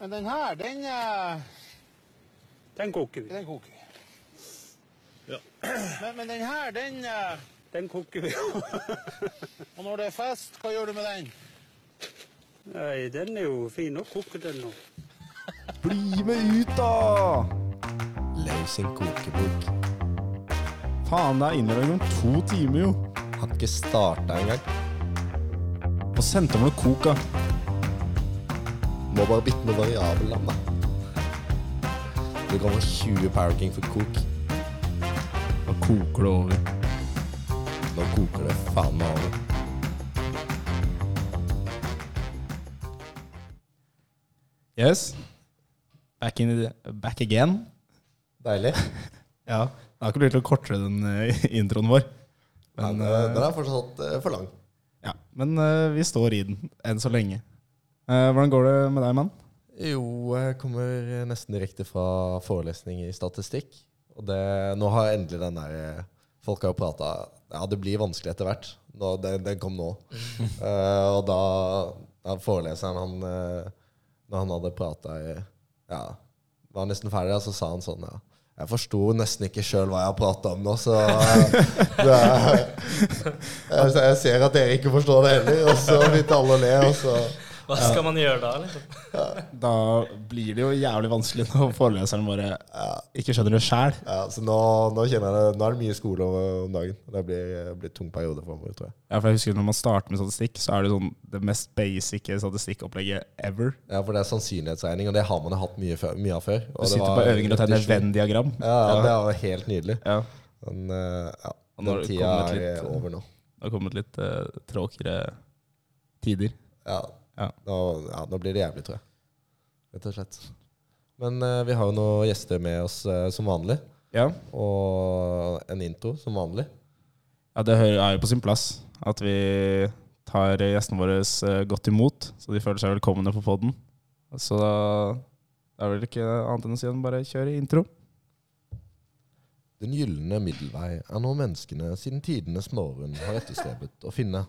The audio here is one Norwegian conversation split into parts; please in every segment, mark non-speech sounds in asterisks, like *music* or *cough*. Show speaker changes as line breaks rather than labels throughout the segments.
Men den her, den, eh,
Den koker vi.
den koker vi.
Ja.
Men, men den her, den eh,
Den koker vi. *laughs*
Og når det er fest, hva gjør du med den?
Nei, den er jo fin å koke den nå.
Bli med ut, da! Løs en kokebok. Faen, det er innlevering om to timer, jo.
Har ikke starta engang.
Og sendte meg noe kok, da.
Må bare bytte med variabelland, da. Du kan få 20 Power King for kok.
Da koker det over.
Nå koker det faen meg over.
Yes. Back, in the, back again.
Deilig.
Ja. Det har ikke blitt noe kortere, den eh, *laughs* introen vår.
Men,
Men,
eh, den er fortsatt eh, for lang.
Ja, men eh, vi står i den enn så lenge. Eh, hvordan går det med deg, mann?
Jo, jeg kommer nesten direkte fra forelesning i statistikk. Og det, nå har jeg endelig den der eh, Folk har jo prata Ja, det blir vanskelig etter hvert. Nå, den, den kom nå. Eh, og da ja, Foreleseren, han eh, Når han hadde prata i Ja, var nesten ferdig, og så sa han sånn, ja. Jeg forsto nesten ikke sjøl hva jeg har prata om nå, så eh, det er, jeg, jeg ser at dere ikke forstår det heller. Og så begynte alle å le, og så
Hva skal man gjøre da? Liksom?
Da blir det jo jævlig vanskelig når foreleseren våre ikke skjønner det sjæl.
Ja, så nå, nå kjenner jeg det Nå er det mye skole om- om dagen. Det blir, blir tung periode framover, tror jeg.
Ja, for jeg husker Når man starter med statistikk, så er det sånn det mest basic statistikkopplegget ever.
Ja, For det er sannsynlighetsregning, og det har man jo hatt mye, før, mye av før. Og
Du
det
sitter
var
på øvinger og tegner
repetisjon.
Venn-diagram.
Ja, ja, det var jo helt nydelig.
Ja.
Men eh, ja,
Og nå har
den
det
tida
kommet
er
litt,
eh, over nå.
Det har kommet litt uh, tråkigere tider.
Ja.
Ja.
Nå, ja, nå blir det jævlig, tror jeg. Rett og slett. Men eh, vi har jo noen gjester med oss eh, som vanlig,
Ja,
og en intro som vanlig.
ja det hører- er jo på sin plass at vi tar gjestene våre eh, godt imot, så de føler seg velkomne på poden. Så da det er vel ikke annet enn å si enn bare kjøre intro.
Den gylne middelvei er når menneskene siden tidenes morgen har etterstrebet å finne.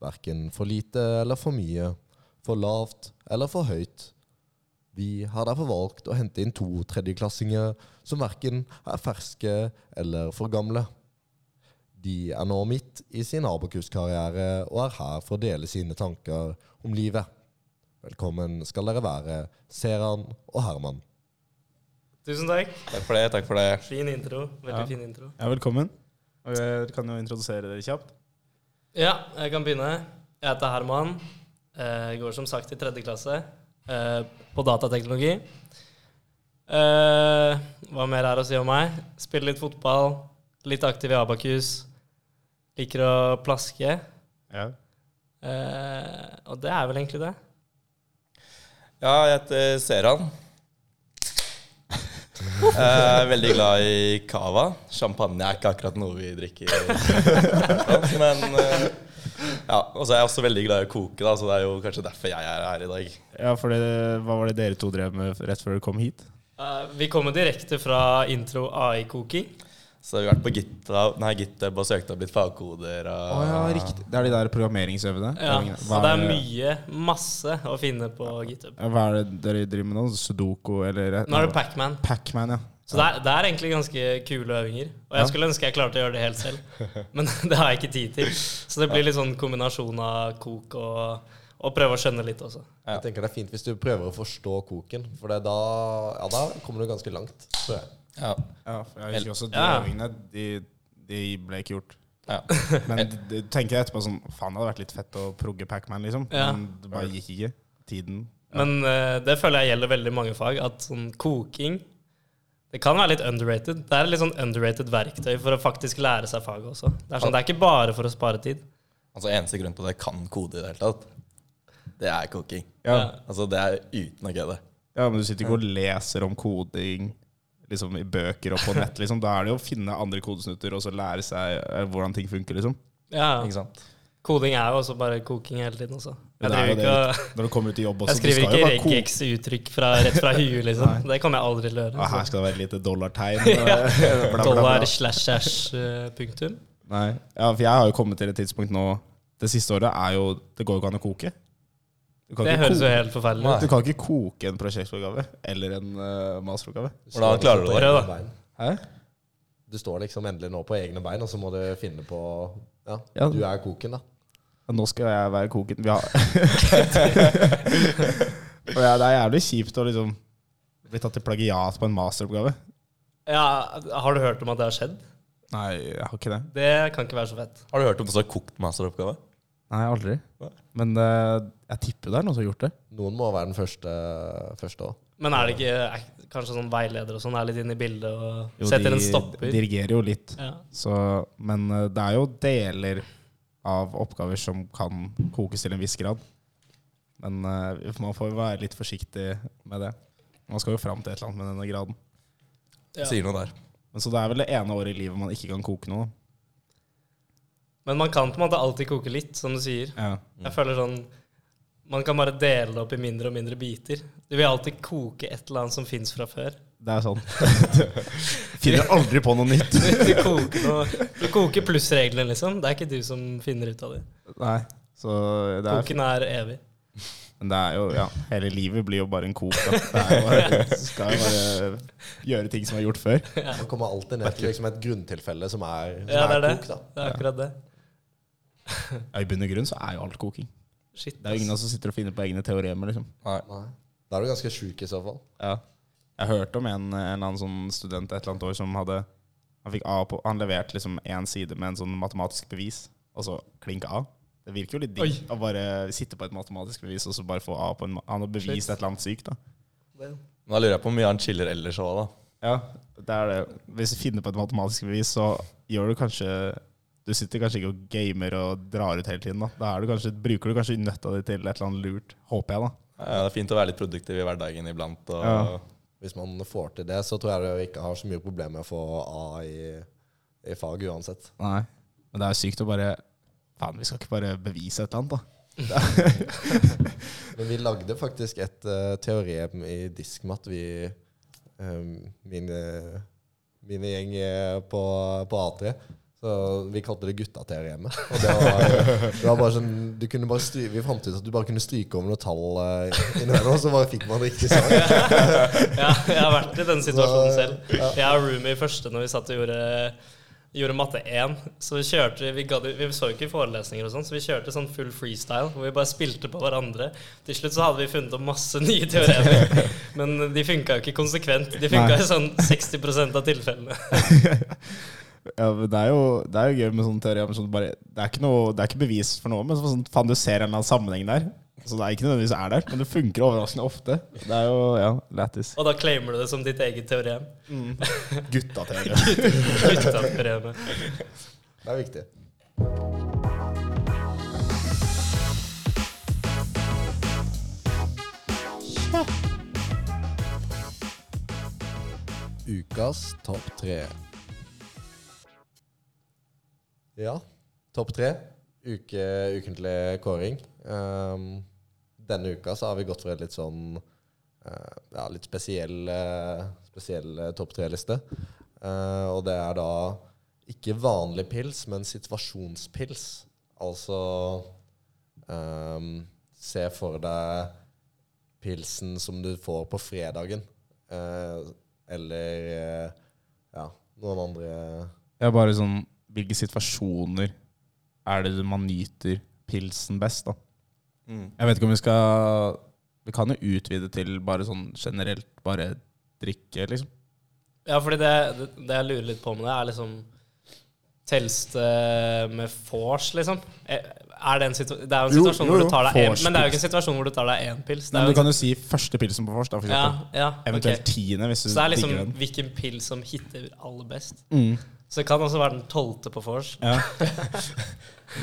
Verken for lite eller for mye, for lavt eller for høyt. Vi har derfor valgt å hente inn to tredjeklassinger som verken er ferske eller for gamle. De er nå midt i sin abokuskarriere og er her for å dele sine tanker om livet. Velkommen skal dere være, Seran og Herman.
Tusen takk.
Takk for det. takk for det.
Fin intro. Veldig
Ja.
fin intro.
Ja, velkommen. Og jeg kan jo introdusere dere kjapt.
Ja, jeg kan begynne. Jeg heter Herman. Eh, Jeg går som sagt i tredje klasse eh, på datateknologi. Eh, Hva mer er å si om meg? Spiller litt fotball. Litt aktiv i Abakus. Liker å plaske. Eh, Og det er vel egentlig det.
Ja, jeg heter Seran. Jeg er veldig glad i cava. Champagne er ikke akkurat noe vi drikker. Men eh, ja, Og så er jeg også veldig glad i å koke, da, så det er jo kanskje derfor jeg er her i dag.
Ja, for det, hva var det dere to drev med rett før dere kom hit?
Eh, Vi kommer direkte fra intro AI-koking.
Så vi har vært på GitHub, nei, GitHub og søkt opp litt fagkoder. Og,
Å ja, riktig. Det er de der programmeringsøvene?
Ja,
Hva
så det er
det-
mye, masse å finne på GitHub.
Ja, Hva er det dere driver med nå? Sudoku eller
Nå er det Pacman.
Pacman, ja.
Så det er, det er egentlig ganske kule øvinger. Og jeg skulle ønske jeg klarte å gjøre det helt
*laughs*
selv, men *laughs* det har jeg ikke tid til. Så det blir litt sånn kombinasjon av kok og, og prøve å skjønne litt også.
Jeg tenker det er fint hvis du prøver å forstå koken, for det er da, ja, da kommer du ganske langt. Tror jeg.
ja,
ja for jeg husker også de
Ja.
øvingene. De, de ble ikke gjort.
ja.
Men du tenker etterpå sånn Faen, det hadde vært litt fett å progge Pacman, liksom.
Ja.
Men det bare gikk ikke. Tiden.
Men eh, det føler jeg gjelder veldig mange fag, at sånn koking det kan være litt underrated. Det er et litt sånn underrated verktøy for å faktisk lære seg faget også. Det er, sånn, det er ikke bare for å spare tid.
Altså Eneste grunn til at jeg kan kode i det hele tatt, det er koking.
Ja.
Altså Det er uten å kødde.
ja, men du sitter ikke og leser om koding liksom i bøker og på nett, liksom. Da er det jo å finne andre kodesnutter og så lære seg eh, hvordan ting funker, liksom.
Ja,
Ikke sant?
Koding er jo også bare koking hele tiden også. Jeg,
Det er jo
driver ikke å-
det, Når du kommer ut i jobb også,
jeg skriver
du skal jo
ikke
bare koke.
regex-uttrykk fra, rett fra huet,
*laughs*
liksom. Det kommer jeg aldri til å
Ja,
gjøre.
her skal det være et lite
*laughs*
dollartegn. Bla, *laughs* bla, bla, bla.
Dollar slash slash eh, punktum.
Nei, ja, for jeg har jo kommet til et tidspunkt nå Det siste året er jo Det går jo ikke an å koke. Du kan
Det
ikke
høres jo
koke-
helt forferdelig ut.
Du kan ikke koke en prosjektoppgave eller en uh, masteroppgave.
Hvordan klarer du det?
Prøv, da.
Hæ?
Du står liksom endelig nå på egne bein, og så må du finne på Ja,
Ja.
du er koken, da.
Ja, Nå skal jeg være koken. Vi har *laughs* Og ja, Det er jævlig kjipt å liksom bli tatt til plagiat på en masteroppgave.
Ja, har du hørt om at det har skjedd?
Nei, jeg har ikke det.
Det kan ikke være så fett.
Har du hørt om noen som har kokt masteroppgave?
Nei, aldri.
Nei.
Men eh, jeg tipper det er noen som har gjort det.
Noen må være den første første òg.
Men er det ikke er, kanskje sånn veileder og sånn er litt inne i bildet og
Jo,
setter
de
en stopper?
Dirigerer jo litt.
Ja.
Så, men eh, det er jo deler av oppgaver som kan kokes til en viss grad. Men eh, man får jo være litt forsiktig med det. Man skal jo fram til et eller annet med denne graden.
Ja.
Sier noe der.
Men Så det er vel det ene året i livet man ikke kan koke noe.
Men man kan på en måte alltid koke litt, som du sier.
Ja.
Jeg føler sånn Man kan bare dele det opp i mindre og mindre biter. Du vil alltid koke et eller annet som fins fra før.
Det er sånn. *laughs* Finner aldri på noe nytt.
Du, du, koker, noe, du koker plussreglene, liksom. Det er ikke du som finner ut av det.
Nei. Så det er,
Koken er evig.
men det er jo ja, Hele livet blir jo bare en kok. Da. Det er jo *laughs* bare, du skal jo bare gjøre ting som er gjort før.
Man kommer alltid ned til liksom, et grunntilfelle som er, som
Ja,
er,
det er det.
kok, da.
Det er akkurat det.
Ja, I bunn og grunn så er jo alt koking.
Shit.
Det er jo ingen av oss som sitter og finner på egne teoremer. liksom.
Nei. Da er du ganske sjuk i så fall.
Ja. Jeg hørte om en, en eller annen sånn student et eller annet år som hadde Han fikk A på Han leverte liksom én side med en sånn matematisk bevis, og så klink A. Det virker jo litt digg å bare sitte på et matematisk bevis og så bare få A på en ma- Han har bevist
Shit.
et eller annet sykt, da.
Men da lurer jeg på hvor mye han chiller ellers òg, da.
Ja, det er det. Hvis du finner på et matematisk bevis, så gjør du kanskje Du sitter kanskje ikke og gamer og drar ut hele tiden. Da, da er du kanskje, bruker du kanskje nøtta di til et eller annet lurt, håper jeg, da.
Ja, det er fint å være litt produktiv i hverdagen iblant. Og
Ja.
Hvis man får til det, så tror jeg du ikke har så mye problemer med å få A i, i fag uansett.
Nei. Men det er sykt å bare Faen, vi skal ikke bare bevise et eller annet, da.
Men vi lagde faktisk et eh, teorem i diskmat, vi eh, mine, mine gjeng eh, på, på A3. Så vi kalte det guttateoremet. Og det var, det var bare sånn du kunne bare stry, Vi fant ut at du bare kunne stryke over noen tall eh, innimellom, så bare fikk man sånn. riktig svar.
Ja, jeg har vært i den situasjonen
Så,
selv. Jeg og roomie i første når vi satt og gjorde, gjorde matte 1. Så vi kjørte Vi, gadd, vi så jo ikke forelesninger og sånn, så vi kjørte sånn full freestyle hvor vi bare spilte på hverandre. Til slutt så hadde vi funnet opp masse *laughs* nye teoremer, men de funka jo ikke konsekvent. De
Nei.
funka i sånn 60 av tilfellene.
Ja, men det er jo, det er jo gøy med sånn teori om sånn bare det er, ikke noe, det er ikke bevis for noe, men så, sånn, faen, du ser en eller annen sammenheng der. Så det er ikke nødvendigvis er der, men det funker overraskende ofte. Det er jo ja, lættis.
Og da claimer du det som ditt eget teorem.
Gutta-teori.
Guttateoremet.
Det er viktig. Ukas topp tre. Ja, topp tre. Uke, ukentlig kåring. Ehm, denne uka så har vi gått for en litt sånn eh, ja, litt spesiell, eh, spesiell eh, topp tre-liste. Eh, og det er da ikke vanlig pils, men situasjonspils. Altså ehm, Se for deg pilsen som du får på fredagen. Eh, eller eh, ja, noen andre
Ja, bare sånn Hvilke situasjoner er det man nyter pilsen best, da?
Mm.
Jeg vet ikke om vi skal Vi kan jo utvide til bare sånn generelt bare drikke, liksom.
Ja, fordi det, det, det jeg lurer litt på med det, er liksom Telles det med vors, liksom? Er er det, en situa det er jo en
Jo,
situasjon
jo,
hvor
jo.
du tar deg en,
Vors,
Men det er jo ikke en situasjon hvor du tar deg én pils. Det
Men
er
du
jo en,
kan jo si første pilsen på vors, da, for
ja,
eksempel.
ja,
Eventuelt
ok.
tiende, hvis du
Så det er liksom
digger den.
hvilken pils som hitter aller best.
Mm.
Så det kan også være den tolvte på vors.
Ja.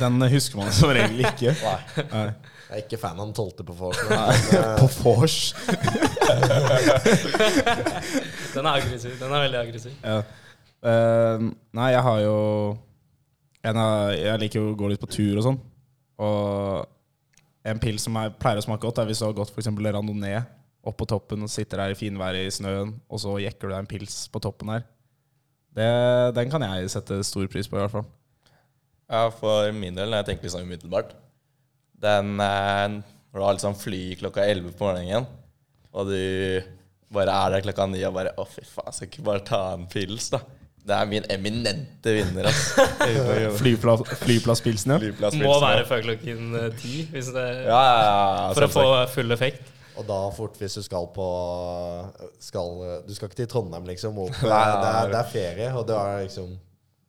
Den husker man som regel ikke. Nei.
Jeg er ikke fan av den tolvte på folk. eh,
På vors.
Den er aggressiv. Den er veldig aggressiv.
Ja. Eh, nei, jeg har jo en av, Jeg liker jo å gå litt på tur og sånn. Og en pils som jeg pleier å smake godt, er hvis du har gått for eksempel randonee opp på toppen og sitter der i finværet i snøen, og så jekker du deg en pils på toppen her. Det, den kan jeg sette stor pris på, i hvert fall.
Ja, for min del, når jeg tenker liksom umiddelbart Den eh, Når du har liksom fly klokka 11 på morgenen, og du bare er der klokka 9 og bare Å, fy faen, skal ikke bare ta en pils, da. Det er min eminente vinner, ass.
Flyplass, *laughs* flyplasspilsen, ja.
Må være før klokken eh, ti hvis det,
Ja, ja, ja.
for å få
selvsagt.
full effekt.
Og da fort hvis du skal på skal, Du skal ikke til Trondheim, liksom. Og, det, er, det, er, det er ferie, og det er liksom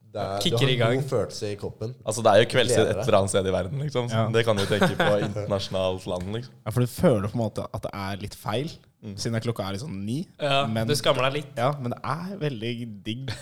det er, Du
Kicker
har
i gang.
en god følelse i kroppen.
Altså, det er jo kveldstid et
Gleder deg.
eller annet sted i verden, liksom.
Ja.
Det kan du tenke på internasjonalt land, liksom.
ja. For du føler på en måte at det er litt feil, siden det klokka er liksom ni.
Ja,
men,
du skammer deg litt.
ja, men det er veldig digg.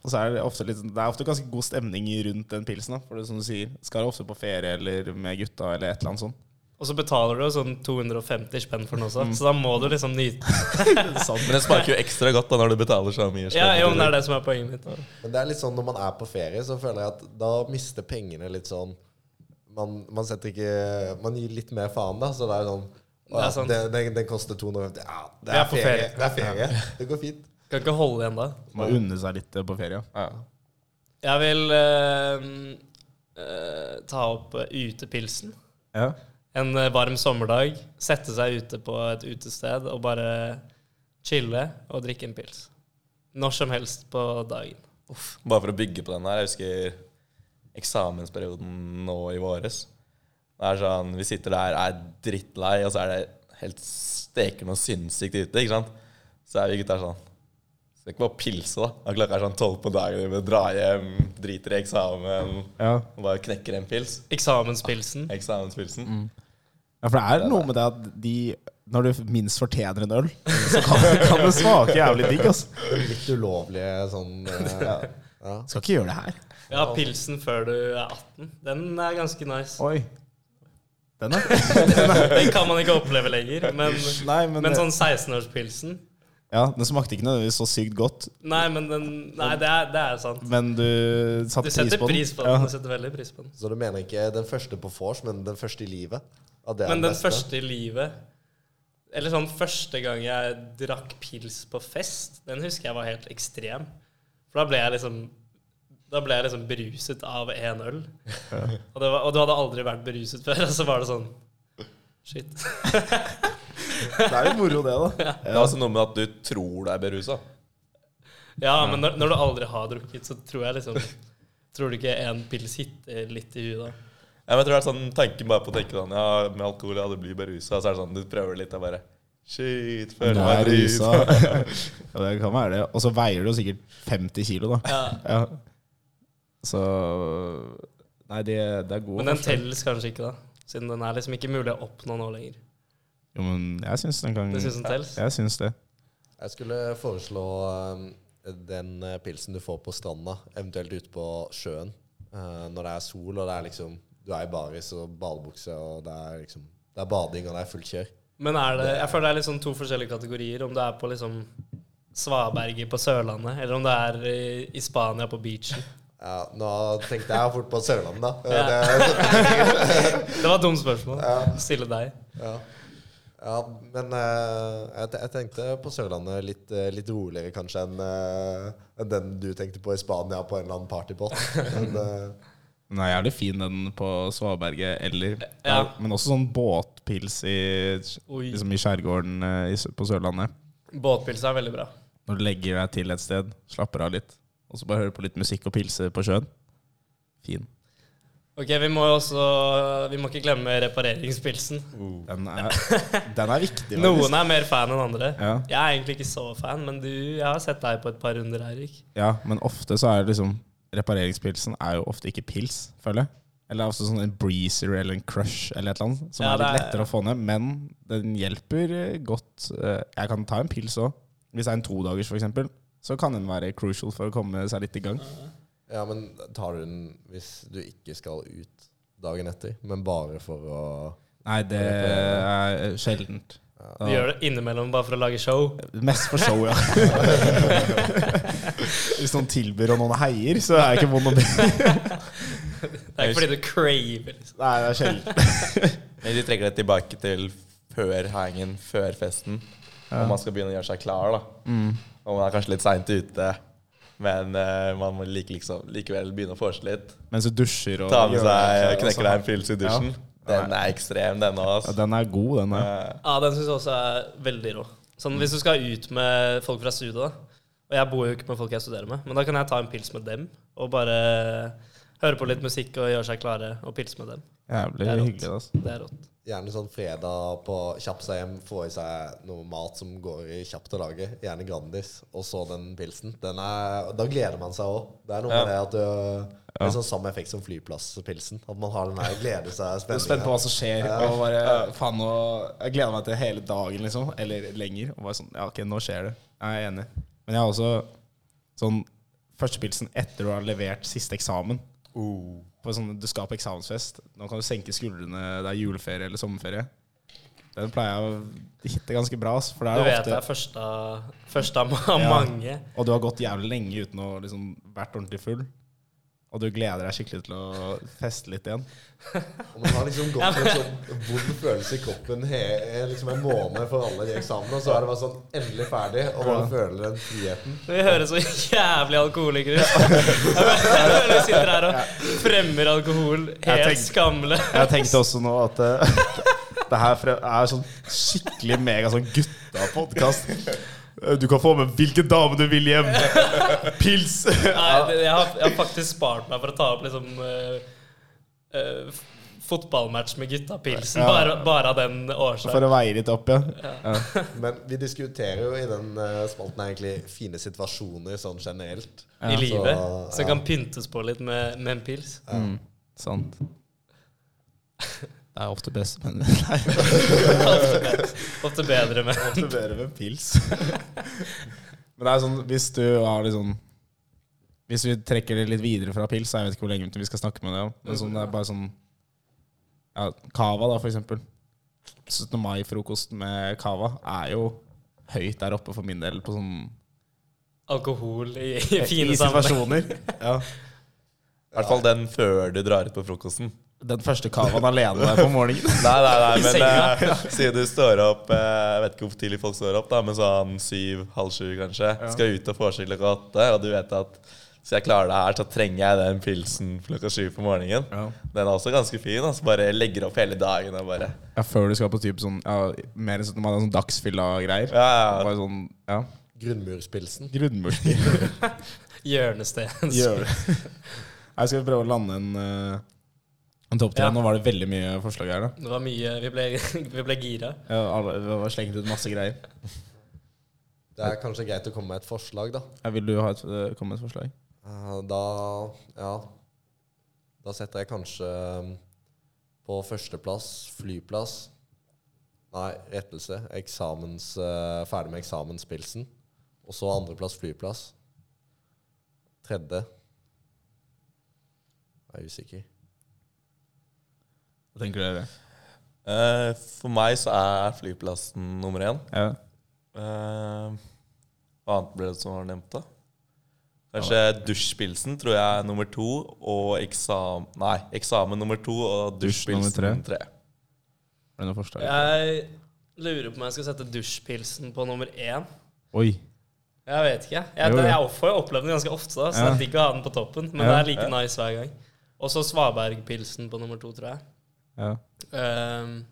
Og så er det ofte litt sånn- Det er ofte ganske god stemning rundt den pilsen. da For det er som du sier, skal ofte på ferie eller med gutta eller et eller annet sånt.
Og så betaler du jo sånn 250 spenn for den også,
Mm.
så da må du liksom nyte.
Men det smaker jo ekstra godt da når du betaler så mye.
Ja,
spenn.
jo, men det er det som er poenget mitt.
Men det er litt sånn når man er på ferie, så føler jeg at da mister pengene litt sånn Man, man setter ikke Man gir litt mer faen, da. Så det er sånn
er
«Å,
sant.
Den, den, den koster 250 Ja, det
Vi
er,
er på
ferie.
ferie.
Det er ferie. Det går fint.
Kan ikke holde igjen da.
Må unne seg litt eh, på ferie. Ja.
Jeg vil eh, eh, ta opp eh, utepilsen.
Ja.
En eh, varm sommerdag. Sette seg ute på et utested og bare chille og drikke en pils. Når som helst på dagen.
Bare for å bygge på den her. Jeg husker eksamensperioden nå i våres. Det er sånn, Vi sitter der, er drittlei, og så er det helt stekende og sinnssykt ute. ikke sant? Så er vi gutta sånn Skal ikke bare pilse, da. Og klokka er sånn tolv på dagen, vi må dra hjem, driter i eksamen.
Ja.
Og bare knekker en pils.
Eksamenspilsen.
Eksamenspilsen.
ja, for det er noe med det at de når du minst fortjener en øl, så kan, kan det smake jævlig digg. Altså.
Litt ulovlige sånn eh, ja.
Skal ikke gjøre det her.
Ja, pilsen før du er 18. Den er ganske nice.
Oi. Den er
Den kan man ikke oppleve lenger. Men,
*laughs* Nei, men,
men sånn 16-årspilsen
Ja, den smakte ikke nødvendigvis så sykt godt,
Nei, men den, nei, det, er, det er sant.
men du
Du
satte pris
setter
på den.
pris på
Ja.
den. Du setter veldig pris på den.
Så du mener ikke den første på vors, men den første i livet? At det er
Men den
beste?
første i livet Eller sånn første gang jeg drakk pils på fest, den husker jeg var helt ekstrem. For da ble jeg liksom Da ble jeg liksom beruset av én øl. Og, det var, og du hadde aldri vært beruset før, *laughs* og så var det sånn Shit.
Det er jo moro, det, da.
Det er også noe med at du tror du er berusa.
Ja, men når, når du aldri har drukket, så tror jeg liksom Tror du ikke en pils hitter litt i huet da?
Ja, men jeg tror det er sånn tanken bare på å tenke sånn Ja, med alkohol, ja, du blir bare rusa. Så er det sånn, du prøver litt, og bare Shit, føler
Nei,
meg
rusa.
rusa.
*laughs* Ja, det kan være det. Og så veier du sikkert 50 kilo, da.
Ja.
Ja. Så Nei, det, det er gode
Men den
forslag.
telles kanskje ikke, da. Siden den er liksom ikke mulig å oppnå nå lenger.
Jo, men jeg syns den kan
Du syns den telles?
Jeg syns det.
Jeg skulle foreslå eh, den eh, pilsen du får på stranda, eventuelt ute på sjøen. eh, når det er sol, og det er liksom Du er i baris og badebukse, og det er liksom Det er bading, og det er fullt kjør.
Men er det, jeg føler det er liksom to forskjellige kategorier. Om det er på liksom svaberget på Sørlandet, eller om det er i, i Spania på *laughs* beachen.
Ja, nå tenkte jeg fort på Sørlandet, da.
Ja.
Eh, Det,
Det var et dumt spørsmål. Stille deg.
*laughs* ja. ja, men eh, jeg, te- jeg tenkte på Sørlandet litt, eh, litt roligere kanskje enn eh, enn den du tenkte på i Spania på en eller annen partypott. *laughs* Men, eh,
Den er jævlig fin, den på Svaberget eller
Ja.
Men også sånn båtpils i,
Oi.
liksom i skjærgården eh, i Sø- på Sørlandet.
Båtpils er veldig bra.
Når du legger deg til et sted, slapper av litt, og så bare hører på litt musikk og pilser på sjøen. Fin.
Ok, Vi må jo også Vi må ikke glemme repareringspilsen.
Den er, den er
*laughs*
viktig. faktisk.
Uh. Noen er mer fan enn andre.
Ja.
Jeg er egentlig ikke så fan, men du, jeg har sett deg på et par runder, Eirik.
ja, men ofte så er det liksom Repareringspilsen er jo ofte ikke pils, føler jeg. Eller det er ofte sånn en breezer eller en crush eller et eller annet, som
Ja,
er litt
det er-
lettere å få ned. Men den hjelper eh, godt. Eh, Jeg kan ta en pils òg. Hvis det er en todagers, f.eks., så kan den være crucial for å komme seg litt i gang.
Ja, men tar du den hvis du ikke skal ut dagen etter, men bare for å
Nei, det er eh, sjeldent.
Du gjør det innimellom bare for å lage show.
Mest for *laughs* show, ja. Hvis noen tilbyr og noen heier, så er det ikke vondt å be.
Det er ikke fordi du craver. Liksom.
Nei, det er sjelden.
Men de trekker det tilbake til før hangen, før festen. Og man skal begynne å gjøre seg klar, da.
Mm.
Og man er kanskje litt seint ute. Men eh, man må like, liksom, likevel begynne å forse litt.
Mens du dusjer og
Ta med
gjør deg
seg
klar,
knekker
og
deg
så-
en pils i dusjen. Den er ekstrem, den
Ja,
òg.
den er god, den er.
Ja, den syns jeg også er veldig rå. Sånn, Hvis du skal ut med folk fra studiet, da. Og jeg bor jo ikke med folk jeg studerer med, men da kan jeg ta en pils med dem. Og bare høre på litt musikk og gjøre seg klare og pilse med dem.
Jævlig
Det er rått.
hyggelig. Altså.
Det er rått.
Gjerne sånn fredag på kjapp seg hjem, få i seg noe mat som går i kjapt å lage. Gjerne Grandis, og så den pilsen. Den er, da gleder man seg òg. Det er noe med det at du Det er sånn samme effekt som flyplasspilsen. At man har den der glede seg
Jeg er spent på hva som skjer. Og bare, faen, nå, jeg gleder meg til hele dagen, liksom. Eller lenger. Og bare sånn, ja, ok, nå skjer det. Jeg er enig. Men jeg har også sånn førstepilsen etter du har levert siste eksamen.
Oh.
På sånn, du skal på eksamensfest. Nå kan du senke skuldrene. Det er juleferie eller sommerferie. Den pleier jeg å hitte ganske bra. ass, For det
Du
er
vet det
ofte,
er første av- første av ma-
Ja.
mange.
Og du har gått jævlig lenge uten å liksom vært ordentlig full. Og du gleder deg skikkelig til å feste litt igjen.
Og man har liksom gått med en sånn vond følelse i kroppen he, liksom en måned for alle de eksamene, og så er det bare sånn endelig ferdig, og man føler den friheten.
Vi høres så jævlig alkoholikere *laughs* ut. Jeg føler vi sitter her og fremmer alkohol
Jeg
helt
tenkte-
skamløst.
Jeg tenkte også nå at eh, det her fre- er sånn skikkelig mega sånn gutta-podkast. Du kan få med hvilken dame du vil hjem. Pils!
Nei, det- jeg har, jeg har faktisk spart meg for å ta opp liksom eh, eh, f- fotballmatch med gutta Pilsen,
Ja.
bare, bare av den
For
årsaken.
å veie litt opp, ja.
Men vi diskuterer jo i den eh, spalten her egentlig fine situasjoner sånn generelt.
I livet.
Så,
Som kan pyntes på litt med, med en pils.
Sant. Det er ofte best, men Nei,
Ofte bedre med
ofte bedre med pils. Men det er sånn, hvis du har litt sånn Hvis vi trekker det litt videre fra pils, jeg vet ikke hvor lenge vi skal snakke med det om, men sånn, det er bare sånn ja, Cava, da, for eksempel. 17. mai-frokosten med cava er jo høyt der oppe for min del på sånn
alkohol i, i fine
i
sammenhenger.
situasjoner.
*laughs*
Ja.
I hvert fall den før du drar ut på frokosten.
Den første cavaen alene der på
*laughs*
morgenen.
Nei, nei, nei,
I
men
senga.
eh, siden du står opp eh, Jeg vet ikke hvor tidlig folk står opp, da men sånn syv, halv sju kanskje. Skal ut og vorse klokka åtte, og du vet at hvis jeg klarer det her, så trenger jeg den pilsen klokka sju på morgenen.
Ja.
Den er også ganske fin. Altså bare legger opp hele dagen og bare
Ja, før du skal på typ sånn ja, mer enn 17. mai, det er sånn dagsfylla-greier.
Ja, ja, ja.
Bare sånn, ja.
Grunnmurspilsen.
Grunnmurspill.
Hjørnesten.
Gjør det. *laughs* Jeg skal prøve å lande en, eh, en topp tre.
Ja.
Nå var det veldig mye forslag her. da
Det var mye Vi ble, vi ble gira.
ja, alle, Vi var slengt ut masse greier.
Det er kanskje greit å komme med et forslag, da.
Ja, vil du ha et, eh, komme med et forslag?
Eh, Da Ja. Da setter jeg kanskje um, på førsteplass flyplass Nei, rettelse. Eksamens, eh, ferdig med eksamenspilsen. Og så andreplass flyplass. Tredje Jeg er usikker.
Hva tenker dere?
Eh, For meg så er flyplassen nummer én.
Ja.
Eh, Hva annet ble det som var nevnt, da? Kanskje dusjpilsen tror jeg er nummer to, og eksamen Nei, eksamen nummer to og
Dusj nummer
dusjpilsen
tre.
nummer tre.
Har du noen forslag?
Jeg lurer på om jeg skal sette dusjpilsen på nummer én.
Oi.
Jeg vet ikke. Jeg,
Jo, jo.
jeg får jo oppleve den ganske ofte, da, så
Ja.
det er digg å ha den på toppen. Men
Ja.
det er like nice hver gang. Og så svabergpilsen på nummer to, tror jeg.
Ja.
Ehm,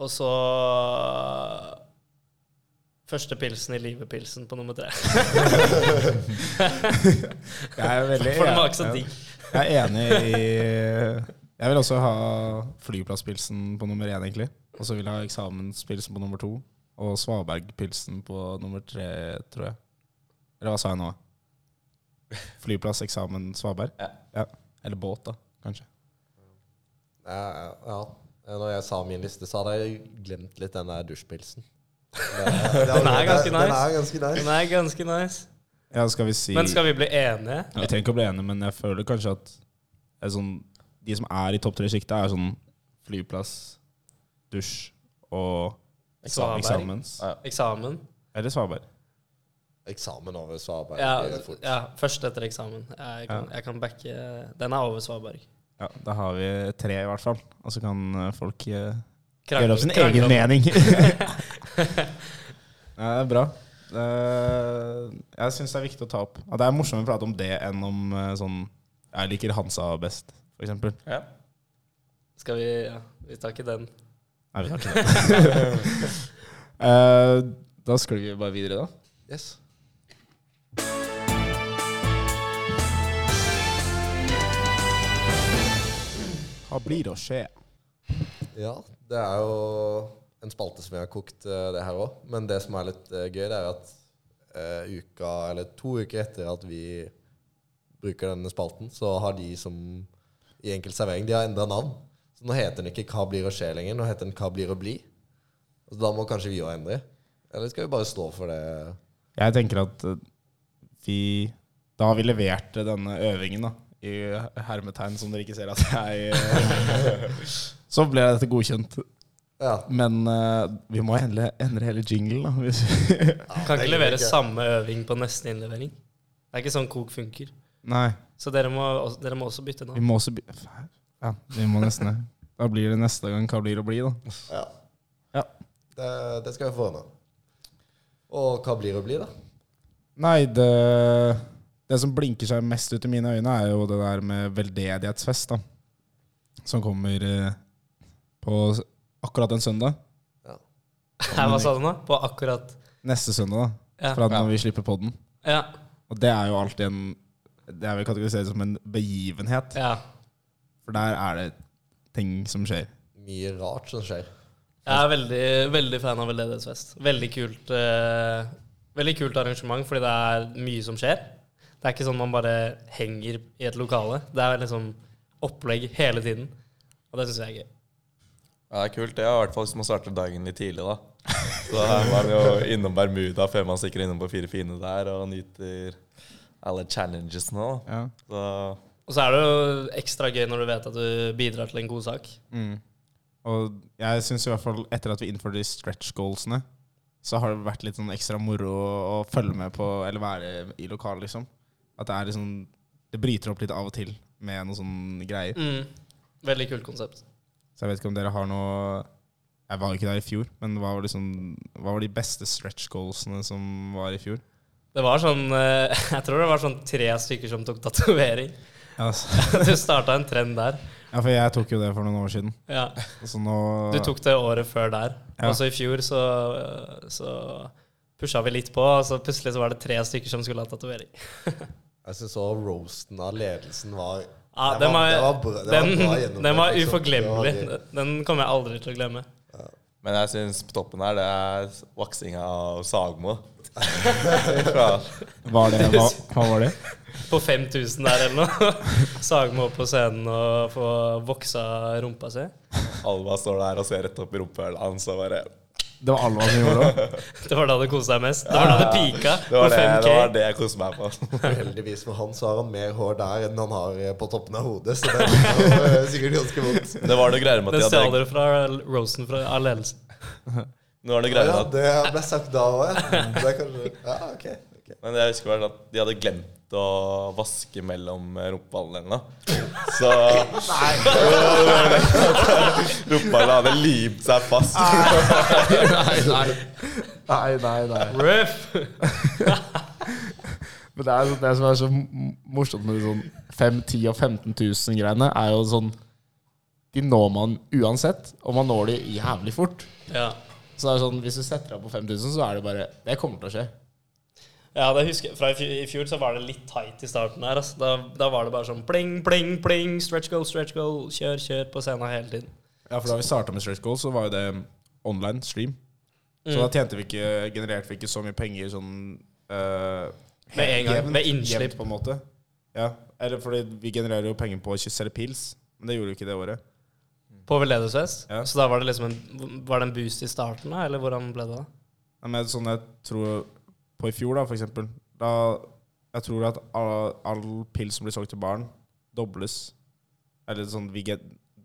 og så Første pilsen i livet-pilsen på nummer
*laughs*
tre.
Jeg er veldig *laughs*
For den var ikke så
jeg-
digg.
Jeg er enig i Jeg vil også ha flyplasspilsen på nummer én, egentlig. Og så vil jeg ha eksamenspilsen på nummer to. Og svabergpilsen på nummer tre, tror jeg. Eller hva sa jeg nå? Flyplass, eksamen, svaberg?
Ja.
Eller båt, da, kanskje.
Ja, ja, ja. Når jeg sa min liste, så hadde jeg glemt litt den der dusjpilsen. Det- det-
Den er ganske
Den
nice.
er ganske nice.
Den er ganske nice.
Ja, skal vi si
Men skal vi bli enige?
Vi trenger ikke å bli enige, men jeg føler kanskje at det er sånn, de som er i topp tre-sjiktet, er sånn flyplass, dusj og
Svaberg.
eksamens.
Eksamen?
Eller svaberg.
Eksamen over Svaberg.
Ja,
det er fort.
ja først etter eksamen. Jeg kan, jeg kan backe Den er over Svaberg.
Ja, da har vi tre, i hvert fall. Og så kan eh, folk eh,
Krangle-
gjøre opp sin
krangle
egen
om- *laughs*
mening. *laughs* ja, det er bra. Det er- jeg syns det er viktig å ta opp. At det er morsommere å prate om det enn om eh, sånn Jeg liker Hansa best, for eksempel.
Ja.
Skal vi Ja, vi tar ikke den.
Nei, vi tar ikke det.
*laughs*
*laughs* Eh, da sklir vi bare videre, da.
Yes.
Hva blir å skje?
Ja, det er jo en spalte som jeg har kokt eh, det her òg. Men det som er litt eh, gøy, det er at eh, uka, eller to uker etter at vi bruker denne spalten, så har de som i Enkel servering de har endra navn. Så nå heter den ikke 'Hva blir å skje' lenger. Nå heter den 'Hva blir å bli'. Så da må kanskje vi òg endre. Eller skal vi bare stå for det?
Jeg tenker at eh, vi Da har vi levert denne øvingen, da. I hermetegn, som dere ikke ser at jeg eh, Så ble dette godkjent.
Ja.
Men eh, vi må endre, endre hele jinglen, da. Hvis vi *laughs*
Kan ikke
det
levere
liker jeg.
samme øving på neste innlevering. Det er ikke sånn kok funker.
Nei.
Så dere må, også- dere må også bytte
Vi
navn.
må også by- Ja, vi må nesten det. Da blir det neste gang hva blir å bli, da.
ja.
Ja.
Det, det skal vi få ordna. Og hva blir å bli, da?
Nei, det Det som blinker seg mest ut i mine øyne, er jo det der med veldedighetsfest, da. Som kommer eh, på s- akkurat en søndag.
Her, hva sa du nå? På akkurat
Neste søndag, da.
Ja.
Fra når vi slipper podden.
Ja.
Og det er jo alltid en Det er vel kategorisert som en begivenhet.
Ja.
For der er det ting som skjer.
Mye rart som skjer.
Jeg er veldig, veldig fan av veldedighetsfest. Veldig kult eh, Veldig kult arrangement, fordi det er mye som skjer. Det er ikke sånn man bare henger i et lokale. Det er liksom opplegg hele tiden. Og det syns jeg er gøy.
Ja, det er kult. Det er i hvert fall hvis man starter dagen litt tidlig, da. Så er man jo innom Bermuda før man stikker innom på Fire fine der og nyter alle challengesene. da.
Ja.
Så
Og så er det jo ekstra gøy når du vet at du bidrar til en god sak.
Mm. Og jeg syns i hvert fall etter at vi innførte de stretch goalsene, så har det vært litt sånn ekstra moro å følge med på, eller være i lokalet, liksom. At det er liksom Det bryter opp litt av og til med noen sånne greier.
Mm. Veldig kult konsept.
Så jeg vet ikke om dere har noe Jeg var jo ikke der i fjor, men hva var, liksom, hva var de beste stretch goalsene som var i fjor?
Det var sånn eh, *laughs* Jeg tror det var sånn tre stykker som tok tatovering. *laughs*
Ja, s-
Du starta en trend der.
ja, for jeg tok jo det for noen år siden.
Ja.
Så nå
Du tok det året før der.
Ja.
Og så i fjor så, eh, så pusha vi litt på, og så plutselig så var det tre stykker som skulle ha tatovering.
Jeg syns òg roasten av ledelsen var
Ja,
det
den var,
det var bra- det var
den,
bra gjennomført,
den var
liksom.
uforglemmelig.
Det var gøy.
Den kommer jeg aldri til å glemme.
Men jeg syns på toppen her, det er vaksinga av Sagmo. Fra-
var det, hva, hva var det?
På 5000 der eller
*laughs*
noe. Sagmo opp på scenen og få voksa rumpa si.
Alva står der og ser rett opp i rumpehullet hans og bare
Det var Alva som gjorde *laughs* det.
Det var da det kosa deg mest. Det var da det pika
Det
på
var det, det, var
5K.
det jeg koste meg på.
Heldigvis for han så har han mer hår der enn han har eh, på toppen av hodet, så det var eh,
*laughs*
sikkert ganske vondt.
Det var noe greier med
Den
at de
stjal
hadde,
dere fra Rosen fra av
*laughs*
ledelsen.
det var noe
Ja,
greier med at
det ble sagt da òg, ja. Mm, Det er kanskje Ja, ok. ok.
Men jeg husker bare at de hadde glemt å vaske mellom rumpeballene eller noe. Så *laughs* Rumpeballene hadde limt seg fast.
Nei, nei. Nei, nei, nei.
Ruff!
Men det, er, sånn- det som er så m- morsomt med de sånn 5 10 og 15 000 greiene, er jo sånn De når man uansett, og man når de jævlig fort.
Ja.
Så det er sånn, hvis du setter deg på 5000, så er det bare Det kommer til å skje.
Ja, det husker jeg. Fra i fjor, i fjor så var det litt tight i starten der. Altså. Da, da var det bare sånn pling, pling, pling, stretch goal, stretch goal, kjør, kjør på scenen hele tiden.
Ja, for da vi starta med Stretch Goal, så var jo det online stream. Så
Mm.
da tjente vi ikke genererte vi ikke så mye penger sånn eh,
Med en gang,
jevnt-
med innslipp.
jevnt på en måte. Ja, eller fordi vi genererer jo penger på å selge pils, men det gjorde vi ikke det året.
På veldedighetsfest.
Ja.
Så da var det liksom en, var det en boost i starten, da, eller hvordan ble det da?
Nei, men sånn jeg tror på i fjor, da, for eksempel. Da jeg tror at all, all pils som blir solgt til barn, dobles. Eller sånn vi get,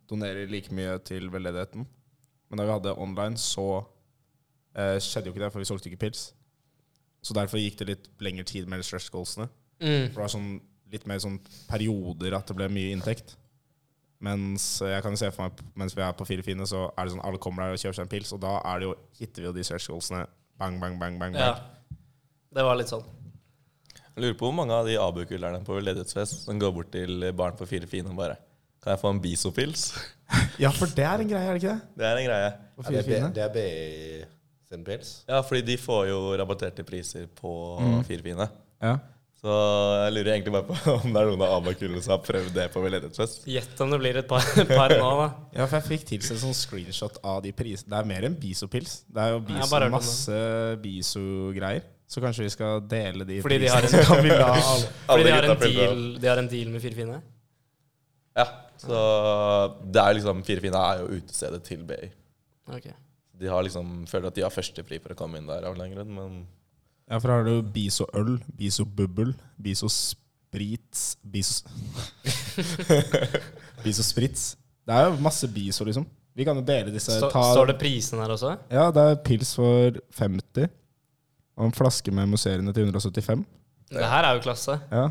donerer like mye til veldedigheten. Men da vi hadde online, så eh, skjedde jo ikke det, for vi solgte ikke pils. Så derfor gikk det litt lengre tid med stress goalsene.
Mm.
For det var sånn, litt mer sånn perioder at det ble mye inntekt. Mens eh, jeg kan jo se for meg mens vi er på Fire fine, så er det sånn alle kommer der og kjøper seg en pils, og da er det jo, hitter vi jo de stretch goalsene. Bang, bang, bang, bang.
Ja.
bang.
Det var litt sånn.
Jeg lurer på hvor mange av de ABU-kullerne på ledighetsfest som går bort til barn på fire fine og bare Kan jeg få en bisopils?
Ja, for det er en greie, er det ikke det?
Det er en greie.
På
Er det, B,
firefine.
det er BI sin pils?
Ja, fordi de får jo rabatterte priser på firefine.
Ja.
Så jeg lurer egentlig bare på om det er noen av Abakulene som har prøvd det på Veledighetsfest.
Gjett om det blir et par, par nå,
*laughs*
da.
ja, for jeg fikk tilsendt sånn screenshot av de prisene. Det er mer enn bisopils. Det er jo
Jeg har
biso,
bare hørt om det.
masse biso-greier. Så kanskje vi skal dele de
Fordi de har
prisene.
en- sånn
så kan vi la alle-
Fordi
Alle
de har
gutta
en
prøvde
deal, de har en deal med Firfine?
Ja, så det er jo liksom Firefine er jo utestedet til BI.
Ok.
De har liksom, føler at de har førstepri for å komme inn der av en eller annen grunn, men
*laughs* Ja, for da har du biso-øl, biso-bubbel, biso-sprits, biso... *laughs* biso-sprits. Det er jo masse biso, liksom. Vi kan jo dele disse.
Stå,
ta-
står det prisen her også?
Ja, det er pils for 50. Og en flaske med musserende til 175.
Det her er jo klasse.
Ja.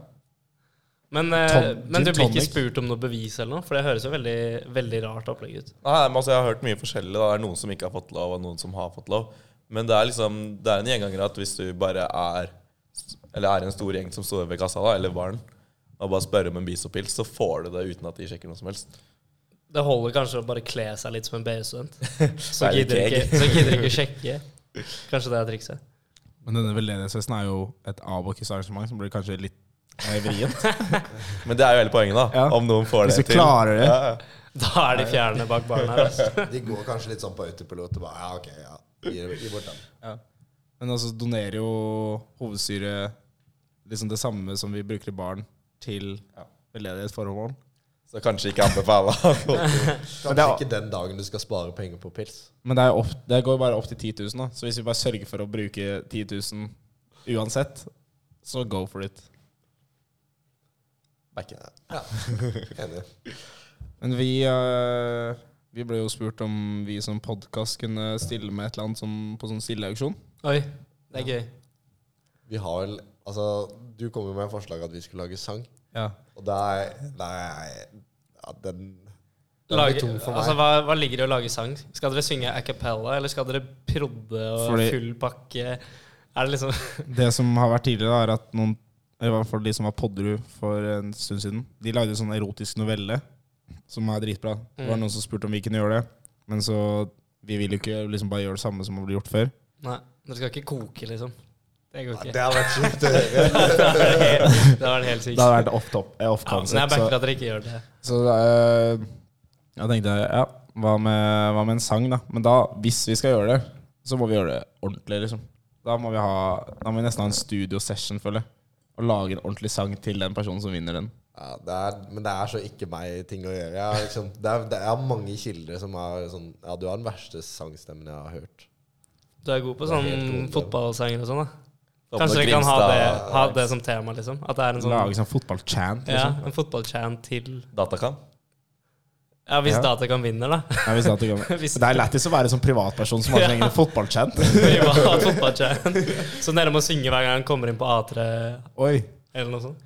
Men, eh,
Ton-
men du
gin
blir ikke
tonic.
spurt om noe bevis eller noe? For det høres jo veldig, veldig rart opplegg ut.
Nei, men altså Jeg har hørt mye forskjellig. da. Det er noen som ikke har fått lov, og noen som har fått lov. Men det er liksom, det er en gjenganger at hvis du bare er Eller er en stor gjeng som står ved kassa, da, eller baren, og bare spør om en bisopils, så får du det uten at de sjekker noe som helst.
Det holder kanskje å bare kle seg litt som
*laughs*
en BI-student. Så
Det er litt
gidder ikke,
keg.
så gidder ikke sjekke. Kanskje det er trikset.
Men denne veldedighetsfesten er jo et Abokus-arrangement som blir kanskje litt eh, vrient.
Men det er jo hele poenget, da.
Ja.
Om noen får
Hvis
det
du klarer det.
Ja, ja.
Da er de fjerne bak barn
*laughs*
her. Altså.
De går kanskje litt sånn på autopilot og bare ja, ok, ja. Gi, gi bort den.
Men altså donerer jo hovedstyret liksom det samme som vi bruker i baren, til veldedighetsformål.
Så kanskje ikke anbefale.
Kanskje
det er-
ikke den dagen du skal spare penger på pils.
Men det, er opp, det går bare opp til 10 000, da. Så hvis vi bare sørger for å bruke 10 000 uansett, så go for it.
Back it.
Enig.
Men vi, eh, vi ble jo spurt om vi som podkast kunne stille med et eller annet som, på sånn stilleauksjon.
Oi, det er gøy.
Vi har vel Altså, du kom jo med forslag at vi skulle lage sang,
Ja.
og det er Nei, ja, den den blir
Lage,
tung for meg.
altså, hva, hva ligger i å lage sang? Skal dere synge a cappella, eller skal dere prodde og
Fordi-
full pakke? Er det liksom
Det som har vært tidligere, er at noen, i hvert fall de som var Podderud for en stund siden, de lagde en sånn erotisk novelle som er dritbra. Det var
Mm.
noen som spurte om vi kunne gjøre det, men så vi vil jo ikke liksom bare gjøre det samme som har blitt gjort før.
Nei, dere skal ikke koke, liksom. Det går ikke.
Det har vært sjukt å høre.
*laughs* det hadde vært helt- det hadde vært helt sykt.
Det har vært off, top, eh, off
Ja, men jeg
concept.
backer at dere ikke gjør det.
så så eh, jeg tenkte ja, hva med, hva med en sang, da? Men da, hvis vi skal gjøre det, så må vi gjøre det ordentlig, liksom. Da må vi, ha, da må vi nesten ha en studiosession, føler jeg. Og lage en ordentlig sang til den personen som vinner den.
Ja, det er, men det er så ikke meg-ting å gjøre. Jeg har, liksom, det er, det er mange kilder som har sånn Ja, du har den verste sangstemmen jeg har hørt.
Du er god på
Det er helt
sånn
rolig.
fotballsanger og sånn, da. Kanskje dere kan ha det, ha det som tema, liksom? At det er en sånn
Lage sånn fotballchant,
ja,
liksom.
en fotballchant til
Datacam.
Ja, hvis
Ja.
Datacam vinner, *laughs* da.
Nei, hvis det, er til gammel.
Hvis-
det er lættis å være sånn privatperson som har sin egen fotballchant.
*laughs* Privat fotballchant. Så dere må synge hver gang han kommer inn på A3
Oi.
eller noe sånt?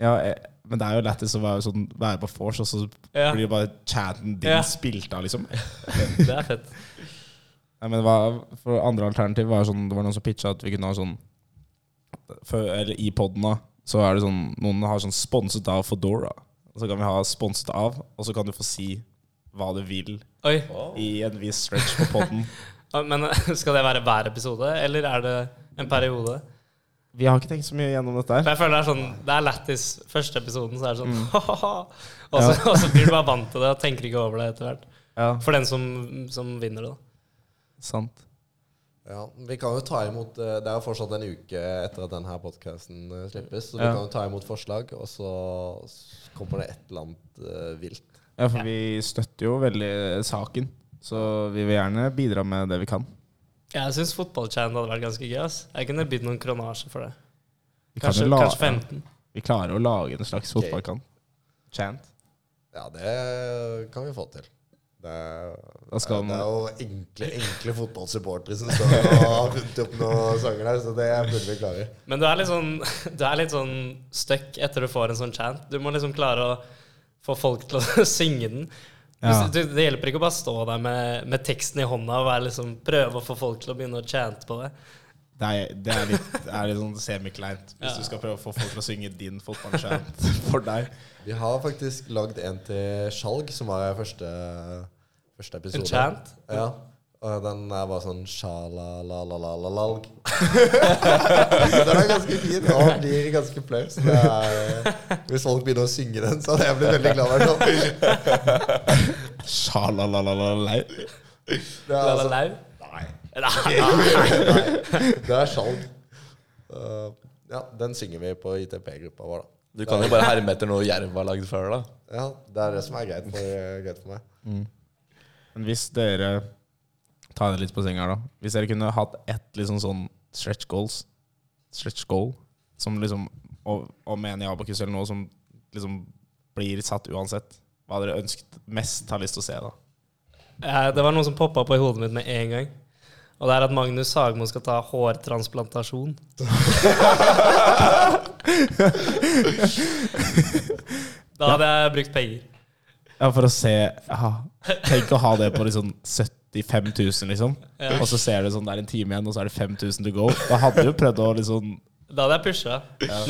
Ja, eh, men det er jo lættis å være, sånn, være på vors, og så
Ja.
blir bare chanten din
Ja.
spilt av, liksom.
Det er fett.
Nei, men hva, for andre alternativ var sånn, det var noen som pitcha at vi kunne ha sånn før, Eller i poden, da, så er det sånn Noen har sånn sponset av Foodora. Og så kan vi ha sponset av, og så kan du få si hva du vil
Oi.
i en viss stretch på
*laughs*
poden.
Men skal det være hver episode, eller er det en periode?
Vi har ikke tenkt så mye gjennom dette
For
her.
jeg føler det er sånn Det er lættis første episoden, så er det sånn
Mm.
*laughs* ha-ha-ha. Og, så, og så blir du
*laughs*
bare vant til det og tenker ikke over det etter hvert.
Ja,
For den som, som vinner det, da.
sant.
Ja, Vi kan jo ta imot eh, Det er jo fortsatt en uke etter at denne podkasten slippes, så vi
Ja.
kan jo ta imot forslag, og så s- kommer det et eller annet eh, vilt.
Ja, for vi støtter jo veldig saken. Så vi vil gjerne bidra med det vi kan.
Jeg syns fotballchant hadde vært ganske gøy. ass Jeg kunne bydd noen kronasje for det.
Vi, kan
Kanskje,
jo la-
kanskje 15.
vi klarer å lage en slags
Ok.
fotballkamp. Chant.
Ja, det kan vi få til. Det er,
Da skal
det er
man-
jo enkle enkle fotballsupportere som står og har funnet opp noen sanger der, så det burde vi klare.
Men du er litt sånn, *laughs* du er litt sånn stuck etter du får en sånn chant. Du må liksom klare å få folk til å *laughs* synge den. Du-
Ja.
Du, det hjelper ikke å bare stå der med, med teksten i hånda og være liksom, prøve å få folk til å begynne å chante på det.
Det er, det er litt, det er litt sånn semikleint hvis
Ja.
du skal prøve å få folk til å synge din fotballskjent for deg.
Vi har faktisk lagd en til Skjalg, som var første, første episode.
En chant?
Ja. Og den er bare sånn sjalalalalalalalg. *laughs* den er ganske fin og blir ganske flau. så det er- Hvis folk begynner å synge den, så hadde jeg blitt veldig glad. i hvert fall.
Sjalalalalei.
Det er, altså,
Lalau? *laughs*
det er Skjalg. Uh, ja, den synger vi på ITP-gruppa vår, da.
Du kan jo bare herme etter noe Jerv har lagd før, da.
Ja, Det er det som er greit for, eh, greit for meg.
Men hvis dere Ta det litt på senga, da. Hvis dere kunne hatt ett liksom sånn stretch goals Stretch goal som liksom og, og mener i Abakus eller noe som liksom blir satt uansett. Hva dere ønsket mest har lyst til å se, da.
Eh, Det var noe som poppa opp i hodet mitt med en gang. Og det er at Magnus Sagmo skal ta hårtransplantasjon. da hadde jeg brukt penger.
Ja, for å se ja. Tenk å ha det på liksom 75 000, liksom. Og så ser du sånn det er en time igjen, og så er det 5000 to go. Da hadde du prøvd å liksom
Da hadde jeg pusha.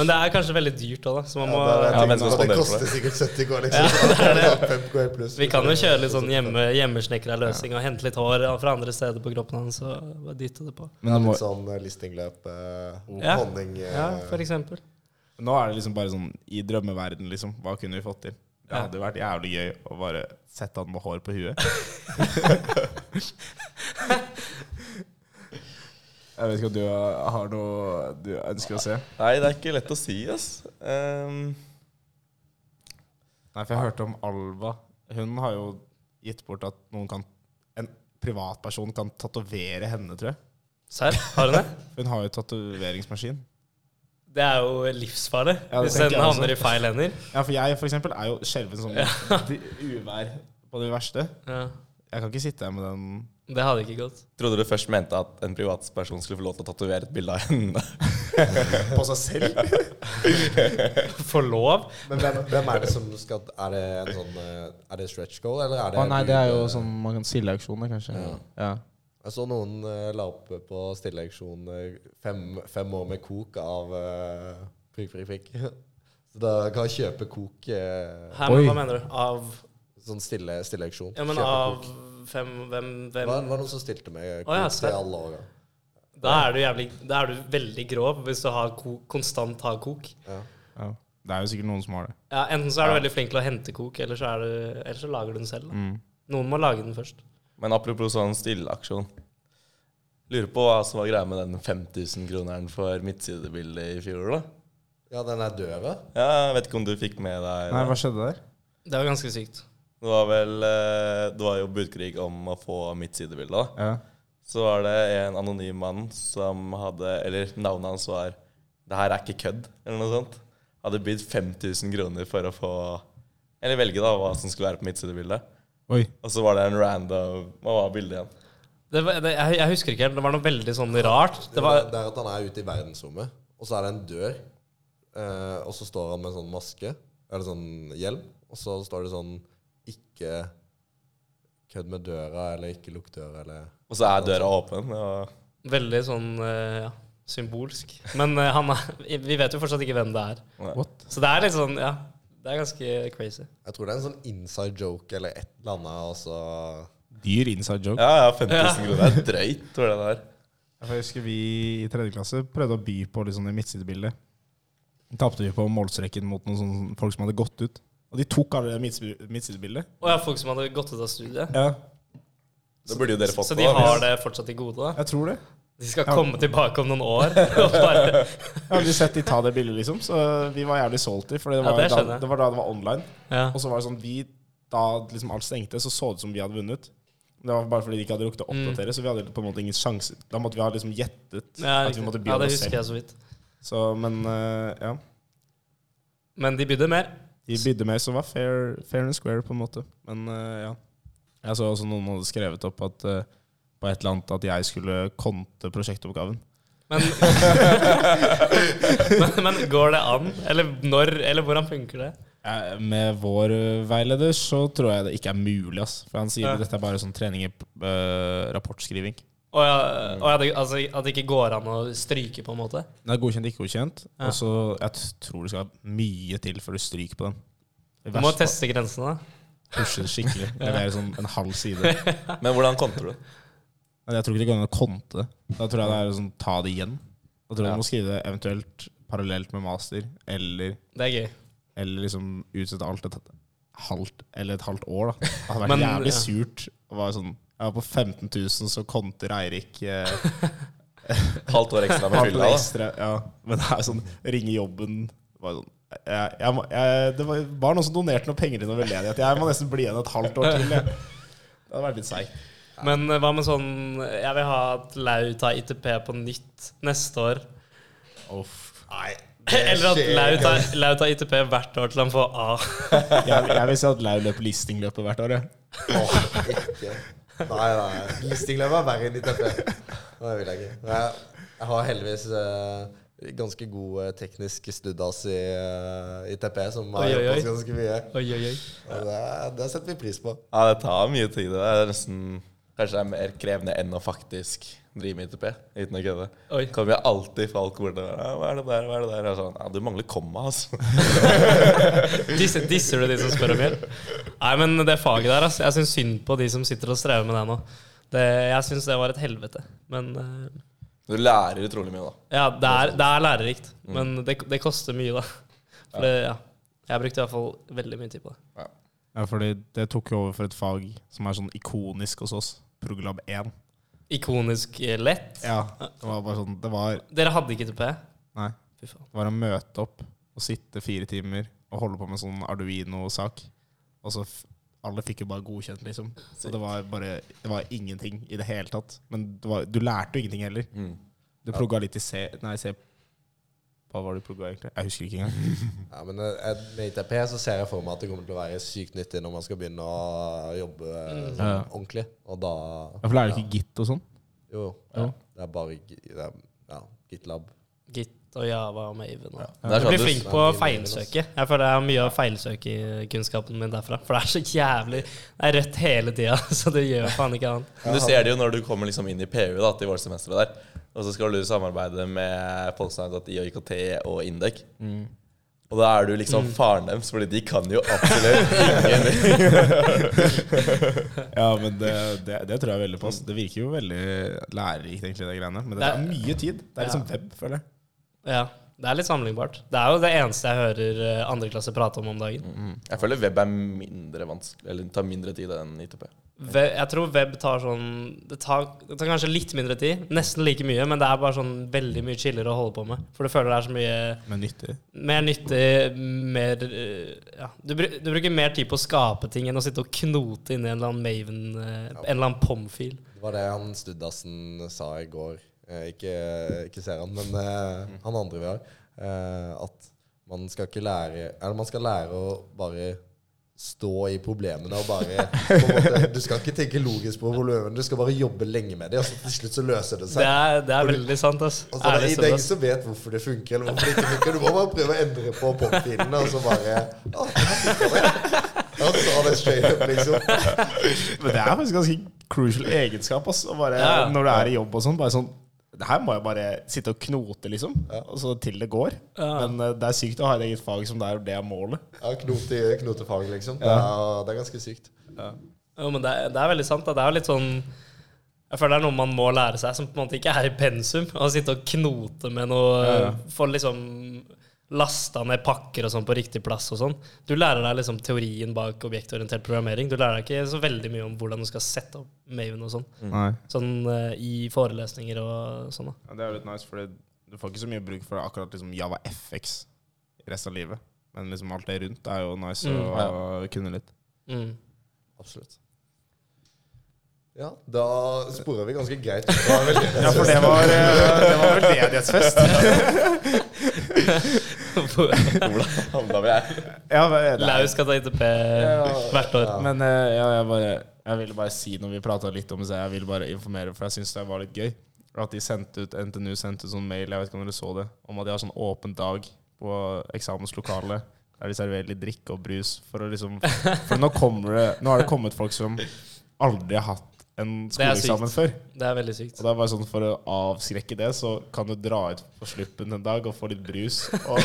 Men det er kanskje veldig dyrt òg, da. Så man må
det, er
Ja, men
ting, og
så
det
spanderer for
koster
det.
sikkert 70 K, liksom. Ja, det *laughs* er 5 K pluss.
Vi kan jo kjøre litt sånn hjemme, hjemmesnekra løsning og hente litt hår fra andre steder på kroppen hans og bare dytte det på.
Men det må,
Litt sånn eh, listingløp, eh,
Ja.
honning eh,
Ja, for eksempel.
Nå er det liksom bare sånn i drømmeverden, liksom. Hva kunne vi fått til? Det hadde jo vært jævlig gøy å bare sette han med hår på huet. Jeg vet ikke om du har noe du ønsker å se?
Nei, det er ikke lett å si, ass. Ehm,
Nei, for jeg hørte om Alva. Hun har jo gitt bort at noen kan En privatperson kan tatovere henne, tror jeg.
Serr, har hun det?
Hun har jo tatoveringsmaskin.
Det er jo livsfarlig
Ja, det
hvis
tenker
den
jeg
havner
også.
i feil hender.
Ja, for jeg for eksempel er jo skjelven som *laughs* de- uvær på det verste.
Ja.
Jeg kan ikke sitte her med den
Det hadde ikke gått.
trodde du først mente at en privatperson skulle få lov til å tatovere et bilde av henne?
på seg selv.
For lov?
Men hvem, hvem er det som skal Er det en sånn eh, Er det stretch goal, eller er det
Å nei, det er jo
bud-
sånn man kan sildeauksjoner, kanskje. Ja.
Jeg så noen eh, la opp på stilleauksjon eh, fem, fem år med kok av eh, prikk, prikk, prikk. *laughs* Så da kan jeg kjøpe kok eh,
Her, men
Oi.
hva mener du? Av
Sånn stille stilleauksjon.
Ja, men
Kjøpe
av
kok.
fem Hvem?
Det
hvem?
var, det var noen som stilte med kok
Å, ja, se.
til alle åra.
Da er du jævlig Da er du veldig grov hvis du har ko konstant har kok.
Det er jo sikkert noen som har det.
Ja, enten så er du veldig flink til å hente kok, eller så, er du, eller så lager du den selv. Da.
Mm.
Noen må lage den først.
*laughs* Men apropos sånn stilleaksjon. Lurer på hva som var greia med den 5000-kroneren for midtsidebildet i fjor, da?
Ja, den er døra.
Ja, jeg vet ikke om du fikk med deg
Nei,
det.
hva skjedde der?
Det var ganske sykt.
Det var vel eh, Det var jo budkrig om å få midtsidebilde, da.
Ja.
Så var det en anonym mann som hadde Eller navnet hans var Det her er ikke kødd, eller noe sånt. Hadde bydd 5000 kroner for å få Eller velge da hva som skulle være på midtsidebildet.
Oi.
Og så var det en random Hva var bildet igjen?
Det var, det, jeg, jeg husker ikke helt. Det var noe veldig sånn rart.
Det,
Det var,
det er at han er ute i verdensrommet, og så er det en dør. Eh, og så står han med en sånn maske, eller sånn hjelm, og så står det sånn Ikke kødd med døra, eller ikke lukk døra, eller
Og så er døra åpen. Og
Veldig sånn eh, ja, symbolsk. Men eh, han er, vi vet jo fortsatt ikke hvem det er.
What?
Så det er litt sånn, ja. Det er ganske crazy.
Jeg tror det er en sånn inside joke eller et eller annet, og så
Dyr inside joke.
ja, ja, 5000 kroner er drøyt, tror jeg det der.
Jeg husker vi i tredje klasse prøvde å by på liksom det midtsidebildet. Da Tapte vi på målstreken mot noen sånne folk som hadde gått ut. Og de tok alle det midtside- midtsidebildet.
Og ja, folk som hadde gått ut av studiet.
Ja,
Det burde jo dere fått
Så
på,
de
da, hvis-
har det fortsatt i gode, da.
jeg tror det.
De skal
Ja.
komme tilbake om noen år. *laughs* Og bare,
Jeg har aldri sett de ta det bildet, liksom. Så vi var jævlig salty. For det
Ja,
var,
det skjønner
da,
jeg.
det var da det var online.
ja.
Og så var det sånn vi, Da liksom alt stengte, så så det ut som vi hadde vunnet. Men Det var bare fordi de ikke hadde rukket å
Mm.
oppdatere, så vi hadde på en måte ingen sjanse. Da måtte vi ha liksom gjettet
Ja,
at vi
riktig.
måtte by
ja,
om
det
oss
husker
selv.
jeg så vidt.
Så, men eh, ja.
Men de bydde mer. *laughs*
De bydde mer, så det var fair, fair and square, på en måte. Men eh, ja. Jeg så også noen hadde skrevet opp at eh, på et eller annet at jeg skulle konte prosjektoppgaven.
Men, men, men går det an? Eller når? Eller hvordan funker det?
Eh, Med vår eh, veileder så tror jeg det ikke er mulig, ass. For han sier
Ja.
dette er bare sånn trening i eh, rapportskriving.
Og, ja, og ja, det, altså, at det ikke går an å stryke, på en måte.
Det er godkjent, ikke godkjent.
Ja.
Og så jeg t- tror det skal mye til før du stryker på den. I
Du
verste
må
fall
teste grensene. da.
pushe det
*laughs*
skikkelig. Leverer sånn en halv side.
Men hvordan kontrer du?
Men jeg tror ikke det går an å konte det. Da tror jeg det er sånn ta det igjen. Da tror jeg
Ja.
du må skrive det eventuelt parallelt med master, eller,
Det er gøy.
eller liksom utsette alt et halvt, eller et halvt år. da. Det hadde vært
Men,
jævlig
ja.
surt. å være sånn, jeg var på 15 000, så konter Eirik eh,
Halvt år ekstra med
Alt
fylla,
det
da.
ekstra, ja. Men det er sånn, ringe jobben det var sånn, jeg, jeg, må- jeg, Det var var noen som donerte noen penger til noe veldedighet. Jeg må nesten bli igjen et halvt år til. Jeg. Det hadde vært litt seigt.
Men eh, hva med sånn Jeg vil ha at Lau tar ITP på nytt neste år. *laughs*
Nei.
Eller at Lau tar, Lau tar ITP hvert år til han får A.
Jeg, jeg vil si at Lau løper listingløpet hvert år. jeg.
Åh, ikke. Nei, nei. Listingløp er verre enn ditt etter. Det vil jeg ikke. Nei, Jeg har heldigvis eh, ganske god eh, teknisk studdas i, eh, i TP, som har
Oi, oi,
hjulpet
oi.
oss ganske mye.
Oi, oi, oi.
Og det, det setter vi pris på.
Ja, det tar mye tid. Det er nesten Kanskje det er mer krevende enn å faktisk drive med ITP. Uten å kødde.
Oi.
Kommer jeg alltid fra alt kornet. Ja, hva er det der, hva er det der? Jeg er sånn, ja, du mangler komma, altså.
Disser, disser du de som spør om hjelp? Nei, men det faget der, altså. Jeg syns synd på de som sitter og strever med det nå. Det, jeg syns det var et helvete. Men eh,
Du lærer utrolig mye, da.
Ja, det er, det er lærerikt, men det, det koster mye, da. For det, ja. Jeg brukte i hvert fall veldig mye tid på det.
Ja, fordi det tok jo over for et fag som er sånn ikonisk hos oss. Program 1.
Ikonisk eh, lett.
Ja, det var bare sånn Det var,
Dere hadde ikke TP?
nei,
Fy faen.
det var å møte opp og sitte fire timer og holde på med en sånn Arduino-sak. Og så f alle fikk jo bare godkjent, liksom. Så det var bare Det var ingenting i det hele tatt. Men det var, du lærte jo ingenting heller.
Mm.
Du plugga litt i C Nei, C Hva var det du plugga, egentlig? Jeg husker ikke engang. *laughs*
Ja, men eh, med ITP så ser jeg for meg at det kommer til å være sykt nyttig når man skal begynne å jobbe eh, sånn,
Ja.
ordentlig. Og da
Ja, For lærer du ikke gitt og sånn?
Jo, jo. Det er bare gi- det er, ja, GitLab.
Git og Java og Maven. Og.
Det er
Jeg
sånn,
blir
du,
flink på å feilsøke. Jeg føler jeg har mye av feilsøkekunnskapen eh, min derfra. For det er så jævlig Det er rødt hele tida, *laughs* så det gjør faen ikke annet.
men du ser det jo når du kommer liksom inn i PU da, til vårsemesteret der. Og så skal du samarbeide med Polsnag.i og IKT og Indek. Og da er du liksom faren deres, fordi de kan jo absolutt ingenting.
Ja, men det, det, det tror jeg veldig på. ass. Det virker jo veldig lærerikt, egentlig, det greiene. Men Mm. det
Det er-
tar mye tid. Det er liksom web, føler jeg.
Ja, Det er litt sammenlignbart. Det er jo det eneste jeg hører eh, andre klasse prate om om
Mm.
dagen.
Jeg føler web er mindre vanskelig, eller tar mindre tid enn ITP.
Ve- Jeg tror web tar sånn det tar, det tar kanskje litt mindre tid, nesten like mye, men det er bare sånn veldig mye chillere å holde på med. For du føler det er så mye
Men nyttig. mer
mer nyttig, mer eh, Ja. Du, bru- du bruker mer tid på å skape ting enn å sitte og knote inni en eller annen Maven, eh, en eller annen POM-fil.
Det var det han Studdassen sa i går. Eh, ikke, ikke ser han, men eh, han andre vi har. Eh, at man skal ikke lære Eller man skal lære å bare stå i problemene og bare på en måte, Du skal ikke tenke logisk på problemene, du skal bare jobbe lenge med dem, og så til slutt så løser det
Det
seg.
er, det er veldig sant, ass.
Og så er Altså, det,
Ærlig
det er ingen
talt.
som vet hvorfor det funker, eller hvorfor det ikke funker. Du må bare prøve å endre på popfilene, og så bare Å, her funker det. Han sa det straight up, liksom.
Men det er faktisk ganske crucial egenskap, ass. Å bare,
Ja.
Når du er i jobb og sånn. Bare sånn det her må jeg bare sitte og knote, liksom. Og så til det går. Men eh, det er sykt å ha et eget fag som det er det er målet.
Ja, knote, knotefag, liksom. Det er, det er ganske sykt.
Jo, men det, er- det er veldig sant. Da. Det er jo litt sånn Jeg føler det er noe man må lære seg, som på en måte ikke er i pensum. Å sitte og knote med noe
Ja, ja.
Få liksom lasta ned pakker og sånn på riktig plass og sånn. Du lærer deg liksom teorien bak objektorientert programmering. Du lærer deg ikke så veldig mye om hvordan du skal sette opp Maven og sånn.
Nei.
Sånn eh, i forelesninger og sånn, da.
Ja, det er jo litt nice, for du får ikke så mye bruk for akkurat liksom Java FX resten av livet. Men liksom alt det rundt er jo nice
Mm.
å kunne litt. *laughs*
Mm.
Absolutt. Ja, da sporer vi ganske greit. Det var
*laughs*
veldig-
Ja, for det var, eh, det var veldedighetsfest. *laughs*
Hvordan handla vi her?
Ja, det er-
Lau skal ta ITP hvert år.
Men eh, ja, jeg, bare, jeg ville bare si når vi prata litt om det, så jeg ville bare informere, for jeg syns det var litt gøy. At de sendte ut, NTNU sendte ut sånn mail, jeg vet ikke om dere så det, om at de har sånn åpen dag på eksamenslokalet. Der de serverer litt drikke og brus. For å liksom For nå kommer det Nå har det kommet folk som aldri har hatt en
Det er sykt.
skoleeksamen før.
Det er veldig sykt.
Og det er bare sånn For å avskrekke det, så kan du dra ut på sluppen en dag og få litt brus. Og,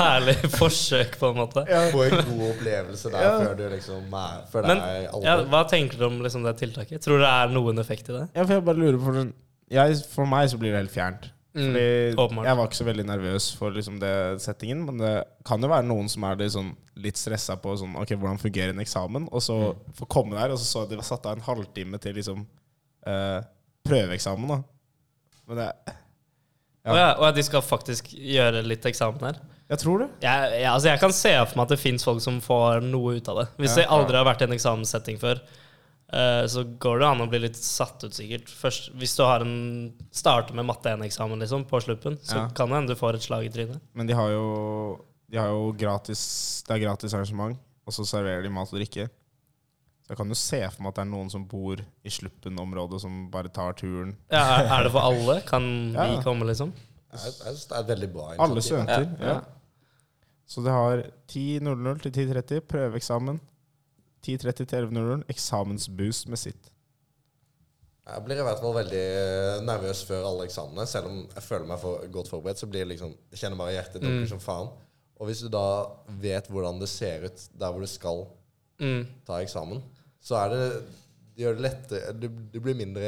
Herlig forsøk, på en måte.
Få en god opplevelse der før du liksom er, før det
Men
er
ja,
alvor.
hva tenker du om liksom, det tiltaket? Tror du det er noen effekt i det?
ja, for jeg bare lurer på for, sånn, jeg, for meg så blir det helt fjernt.
Mm,
Fordi
åpenbart.
jeg var ikke så veldig nervøs for liksom det settingen, men det kan jo være noen som er litt, sånn, litt stressa på sånn, ok, hvordan fungerer en eksamen, og så
Mm.
få komme der, og så så jeg de var satt av en halvtime til liksom, eh, prøveeksamen. Da. Men det, Ja.
Å ja, å ja, de skal faktisk gjøre litt eksamen her?
jeg tror det.
Jeg, jeg, altså jeg kan se for meg at det fins folk som får noe ut av det. Hvis
Ja,
de aldri har vært i en eksamenssetting før, eh, så går det an å bli litt satt ut, sikkert. Først, hvis du har en starter med matte 1-eksamen liksom, på sluppen, så
Ja.
kan det hende du får et slag i trynet.
Men de har jo, de har jo gratis, det er gratis arrangement, og så serverer de mat og drikke. Så jeg kan jo se for meg at det er noen som bor i Sluppen-området, som bare tar turen.
Ja, er, er det for alle? Kan vi
Ja.
komme, liksom?
Jeg, jeg synes det er et veldig bra.
Alle
initiativ.
studenter. Ja. Så de har 10.00 til 10.30, prøveeksamen. 10.30 til 11.00, eksamensboost med sitt.
Jeg blir i hvert fall veldig eh, nervøs før alle eksamene. Selv om jeg føler meg for godt forberedt, så blir det liksom, jeg kjenner bare hjertet
Mm.
dunker som faen. Og hvis du da vet hvordan det ser ut der hvor du skal
Mm.
ta eksamen, så er det det gjør det lettere Det, det blir mindre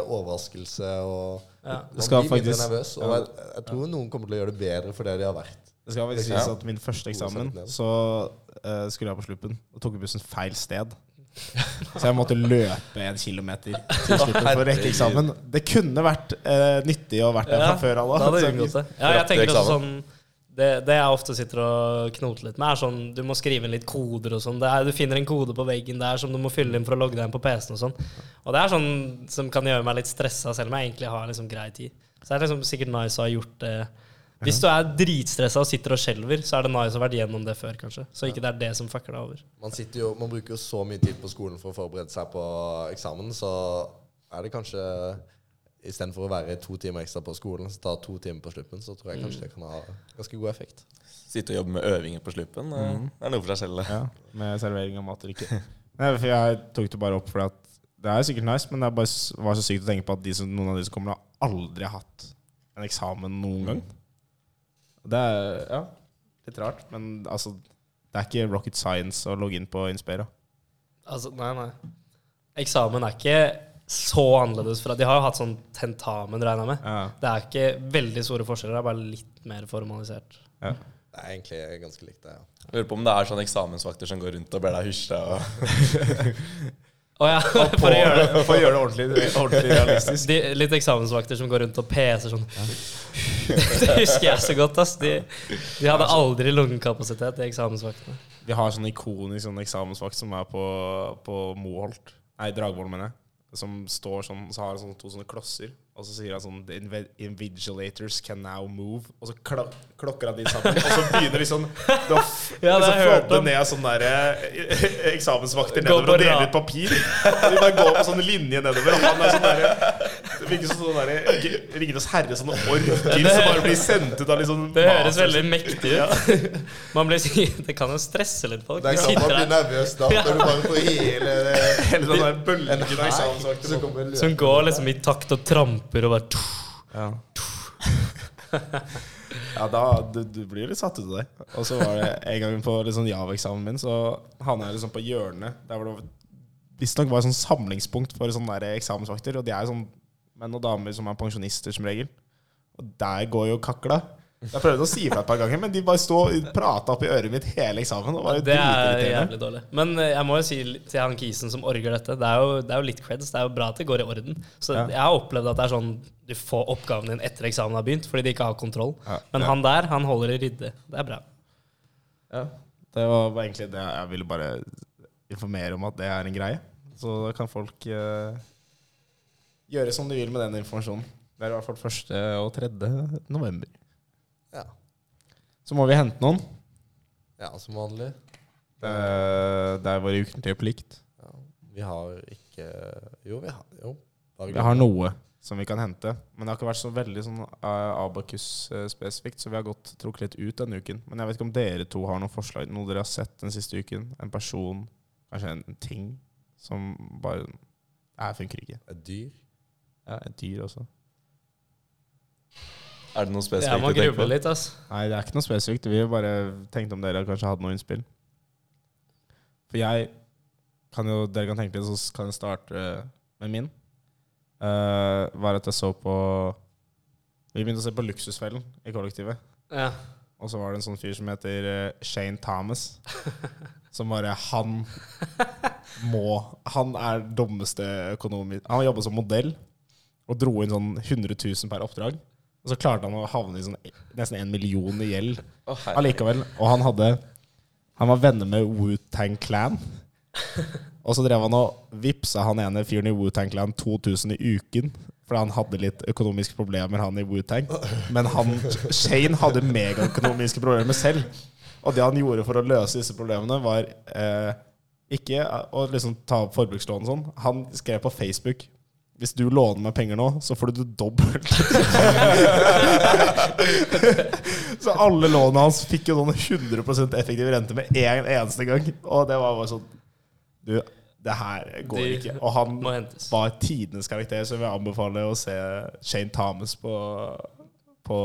overraskelse og
Ja.
Man
skal
blir mindre
faktisk-
nervøs. Og jeg, jeg tror noen kommer til å gjøre det bedre for det de har vært.
Det skal faktisk
Ja.
sies at min første eksamen
altså.
så eh, skulle jeg på Sluppen, og tok bussen feil sted. *laughs* Så jeg måtte løpe en kilometer til Sluppen for å rekke eksamen. Det kunne vært eh, nyttig å vært der fra før
Da
*laughs*
hadde
alle.
jeg unngått det. Ja, jeg tenker også sånn det, det jeg ofte sitter og knoter litt med, er sånn du må skrive inn litt koder og sånn. Det er- Du finner en kode på veggen der som du må fylle inn for å logge deg inn på PC-en og sånn. Og det er sånn som kan gjøre meg litt stressa, selv om jeg egentlig har liksom grei tid. Så det er liksom sikkert nice å ha gjort det. Hvis du er dritstressa og sitter og skjelver, så er det nice å ha vært gjennom det før, kanskje. Så ikke det er det som fucker deg over.
Man, sitter jo, man bruker jo så mye tid på skolen for å forberede seg på eksamen, så er det kanskje Istedenfor å være to timer ekstra på skolen, så ta to timer på slutten, så tror jeg
Mm.
kanskje det kan ha ganske god effekt.
Sitte og jobbe med øvinger på sluppen. eh, Det er noe for seg selv. det.
Ja, med servering av mat og drikke. *laughs* Nei, for jeg tok det bare opp fordi at det er sikkert nice, men det er bare, s- var så sykt å tenke på at de som, noen av de som kommer, har aldri hatt en eksamen noen gang. Det er ja, litt rart, men altså det er ikke rocket science å logge inn på Inspira.
Altså, nei, nei. Eksamen er ikke så annerledes fra De har jo hatt sånn tentamen, regner jeg med.
Ja.
Det er ikke veldig store forskjeller, det er bare litt mer formalisert.
Ja.
Det er egentlig ganske likt det, ja.
Jeg Lurer på om det er sånn eksamensvakter som går rundt og ber deg hysje. Og
Å ja, *laughs* for å gjøre det.
*laughs* For å gjøre det ordentlig, ordentlig *laughs* realistisk.
De, litt eksamensvakter som går rundt og peser sånn. *laughs* Det husker jeg så godt. ass. De, de hadde aldri lungekapasitet, de eksamensvaktene.
Vi har sånn ikonisk sånn eksamensvakt som er på, på Moholt. Nei, Dragvoll, mener jeg. Som står sånn, så har han sånn, to sånne klosser, og så sier han sånn The inve- invigilators can now move. Og så kla- klokker han de sammen, og så begynner de sånn Det har
*laughs*
liksom
Ja, det har jeg hørt om.
ned sånne der, eh, *laughs* eksamensvakter
Gå
nedover
på
og deler
rad.
ut papir. Og de bare går på sånne linjer nedover. Og han er sånn derre Det virker som sånn derre Ringenes sånn herre, sånne orker som bare blir sendt ut av litt sånn
Det høres
mat-
veldig mektig ut. *laughs* Man blir, sy- *laughs* det kan jo stresse litt folk.
Det
De
er klart man
sitter
blir
der
nervøs da, når du bare får *laughs* hele
*laughs*
Hele den der
en
bølgen av
hær
eksamensvakter.
som kommer løpende.
som går liksom i takt og tramper og bare
Ja. ja, da du, du blir litt satt ut av det. Og så var det en gang på litt sånn Jav-eksamen min, så havna jeg liksom på hjørnet. Der hvor det visstnok var et sånn samlingspunkt for sånne der eksamensvakter. Og de er sånn menn og damer som er pensjonister, som regel. Og der går jo kakla. Jeg prøvde å si ifra et par ganger, men de bare sto og prata oppi øret mitt hele eksamen. Og var jo
Det er
dritirriterende.
jævlig dårlig. Men eh, jeg må jo si l- til han Kisen som orger dette, det er jo, det er jo litt creds. Det er jo bra at det går i orden. Så
Ja.
jeg har opplevd at det er sånn du får oppgaven din etter eksamen har begynt, fordi de ikke har kontroll.
Ja.
Men
Ja.
han der, han holder i rydde. Det er bra.
Ja. Det var bare egentlig det jeg ville bare informere om at det er en greie. Så da kan folk eh, gjøre som de vil med den informasjonen. Det er i hvert fall 1. og 3. november.
Ja.
Så må vi hente noen.
ja, som vanlig.
Eh, Det er vår ukentlige plikt.
Ja. Vi har ikke Jo, vi har jo. Bare
Vi har noe som vi kan hente. Men det har ikke vært så veldig sånn Abakus-spesifikt, så vi har gått trukket litt ut denne uken. Men jeg vet ikke om dere to har noen forslag, noe dere har sett den siste uken? En person, kanskje en ting som bare Nei, funker ikke.
Et dyr?
Ja, et dyr også.
Er det noe
Jeg
spesifikt
må
du tenker
gruble
på?
litt, ass.
Nei, det er ikke noe spesifikt. Vi bare tenkte om dere kanskje hadde noe innspill. For jeg kan jo Dere kan tenke litt, så s- kan jeg starte eh, med min. Eh, var at jeg så på Vi begynte å se på Luksusfellen i kollektivet.
Ja.
Og så var det en sånn fyr som heter eh, Shane
*laughs*
Thomas. Som bare Han må Han er dummeste økonom i- Han jobba som modell og dro inn sånn 100 000 per oppdrag. Og så klarte han å havne i sånn nesten en million i gjeld
Å, herregud.
allikevel. Og han hadde Han var venner med Wu-Tang Clan. Og så drev han og vippsa han ene fyren i Wu-Tang Clan 2000 i uken. Fordi han hadde litt økonomiske problemer, han i Wu-Tang. Men han, Shane hadde megaøkonomiske problemer selv. Og det han gjorde for å løse disse problemene, var eh, ikke å liksom ta opp forbrukslån og sånn. Han skrev på Facebook Hvis du låner meg penger nå, så får du det dobbelt. *laughs* så alle lånene hans fikk jo noen 100 effektiv rente med en eneste gang. Og det var bare sånn Du, det her går
De
ikke. Og han
må hentes.
var tidenes karakter, så jeg vil anbefale å se Shane Thomas på, på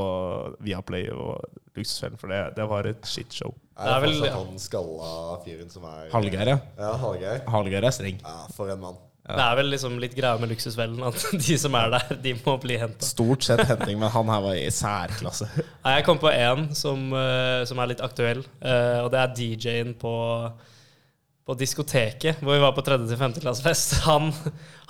Viaplay og Luksusfellen, for det, det var et shitshow.
Er det,
er vel-
fortsatt han skalla fyren som er
Hallgeir, ja.
Ja, Hallgeir.
Hallgeir er streng.
Ja, for en mann.
Det er vel liksom litt greia med luksusfellen at *laughs* de som er der, de må bli henta.
Stort sett henting, men han her var i særklasse.
Jeg kom på én som, eh, som er litt aktuell, eh, og det er DJ-en på, på diskoteket hvor vi var på 3. til 5. klassefest. Han,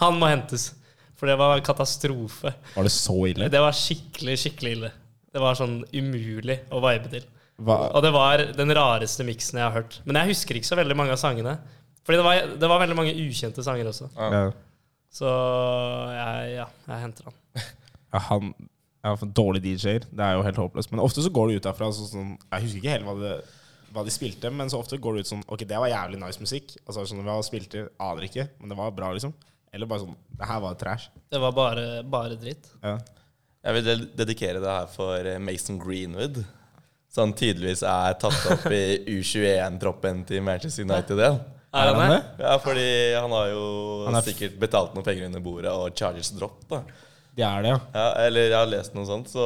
han må hentes. For det var en katastrofe.
Var det så ille?
Det var skikkelig, skikkelig ille. Det var sånn umulig å vibe til.
Hva?
Og det var den rareste miksen jeg har hørt. Men jeg husker ikke så veldig mange av sangene. Fordi det var, det var veldig mange ukjente sanger også.
Ja.
Så jeg, ja, jeg henter han.
Ja, han ja, for Dårlig DJ-er. Det er jo helt håpløst. Men ofte så går det ut derfra så, sånn Jeg husker ikke helt hva, det, hva de spilte, men så ofte går det ut sånn Ok, det var jævlig nice musikk. Altså sånn Hva spilte, aner ikke, men det var bra, liksom. Eller bare sånn Det her var trash.
Det var bare, bare dritt.
Ja.
Jeg vil del- dedikere det her for eh, Mason Greenwood. Så han tydeligvis er tatt opp i
*laughs*
U21-troppen til Manchester United. igjen.
Er han det?
Ja, fordi han har jo
Han er f-
sikkert betalt noen penger under bordet og Chargers drop. da.
Det er det, ja.
Ja, eller jeg har lest noe sånt, så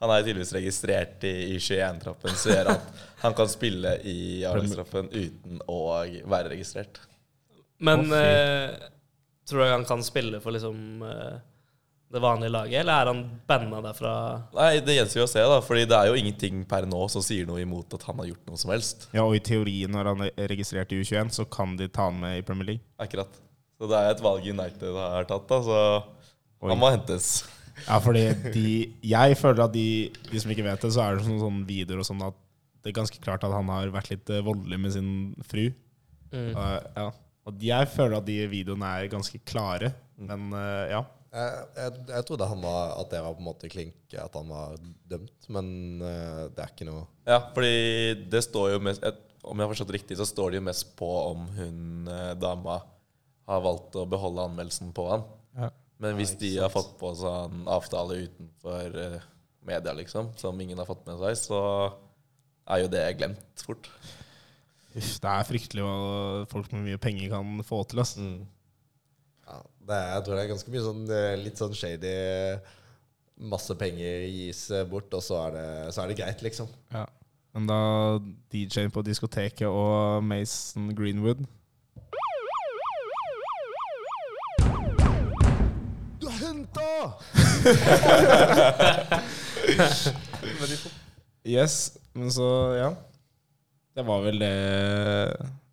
han er tydeligvis registrert i U21-troppen, som gjør at han kan spille i A-lagstroppen uten å være registrert.
Men
Å, fy.
eh, tror du han kan spille for liksom eh, det vanlige laget, eller er han banna derfra?
Nei, Det gjenstår jo å se, da, Fordi det er jo ingenting per nå som sier noe imot at han har gjort noe som helst.
ja. Og i teorien, når han er registrert i U21, så kan de ta han med i Premier League.
Akkurat. Så det er et valg United har tatt, da, så
Oi.
han må hentes.
Ja, fordi de Jeg føler at de, de som ikke vet det, så er det sånn, sånn videoer og sånn at det er ganske klart at han har vært litt eh, voldelig med sin fru.
Mm.
Uh, ja. Og jeg føler at de videoene er ganske klare, men uh, ja.
Jeg, jeg, jeg trodde han var, at det var på en måte klink, at han var dømt, men eh, det er ikke noe
Ja, fordi det står jo mest et, Om jeg har forstått riktig, så står det jo mest på om hun eh, dama har valgt å beholde anmeldelsen på han.
Ja.
Men hvis de har fått på sånn avtale utenfor eh, media, liksom, som ingen har fått med seg, så er jo det glemt fort.
Uff, det er fryktelig hva folk med mye penger kan få til. Ass.
ja, det er, Jeg tror det er ganske mye sånn eh, litt sånn shady Masse penger gis eh, bort, og så er det, så er det greit, liksom.
Men da DJ-en på diskoteket og Mason Greenwood
Du har henta!
Yes, men så, ja. Det var vel det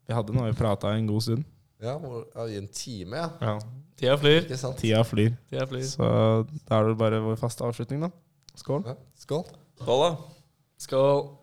vi hadde når vi prata en god stund.
Ja, hvor, ja, i en time, ja.
Ja.
Tida flyr.
Ikke sant?
Tida flyr,
Tida flyr.
så da er det bare vår faste avslutning, da. Skål.
Ja. Skål.
Skål, da.
Skål.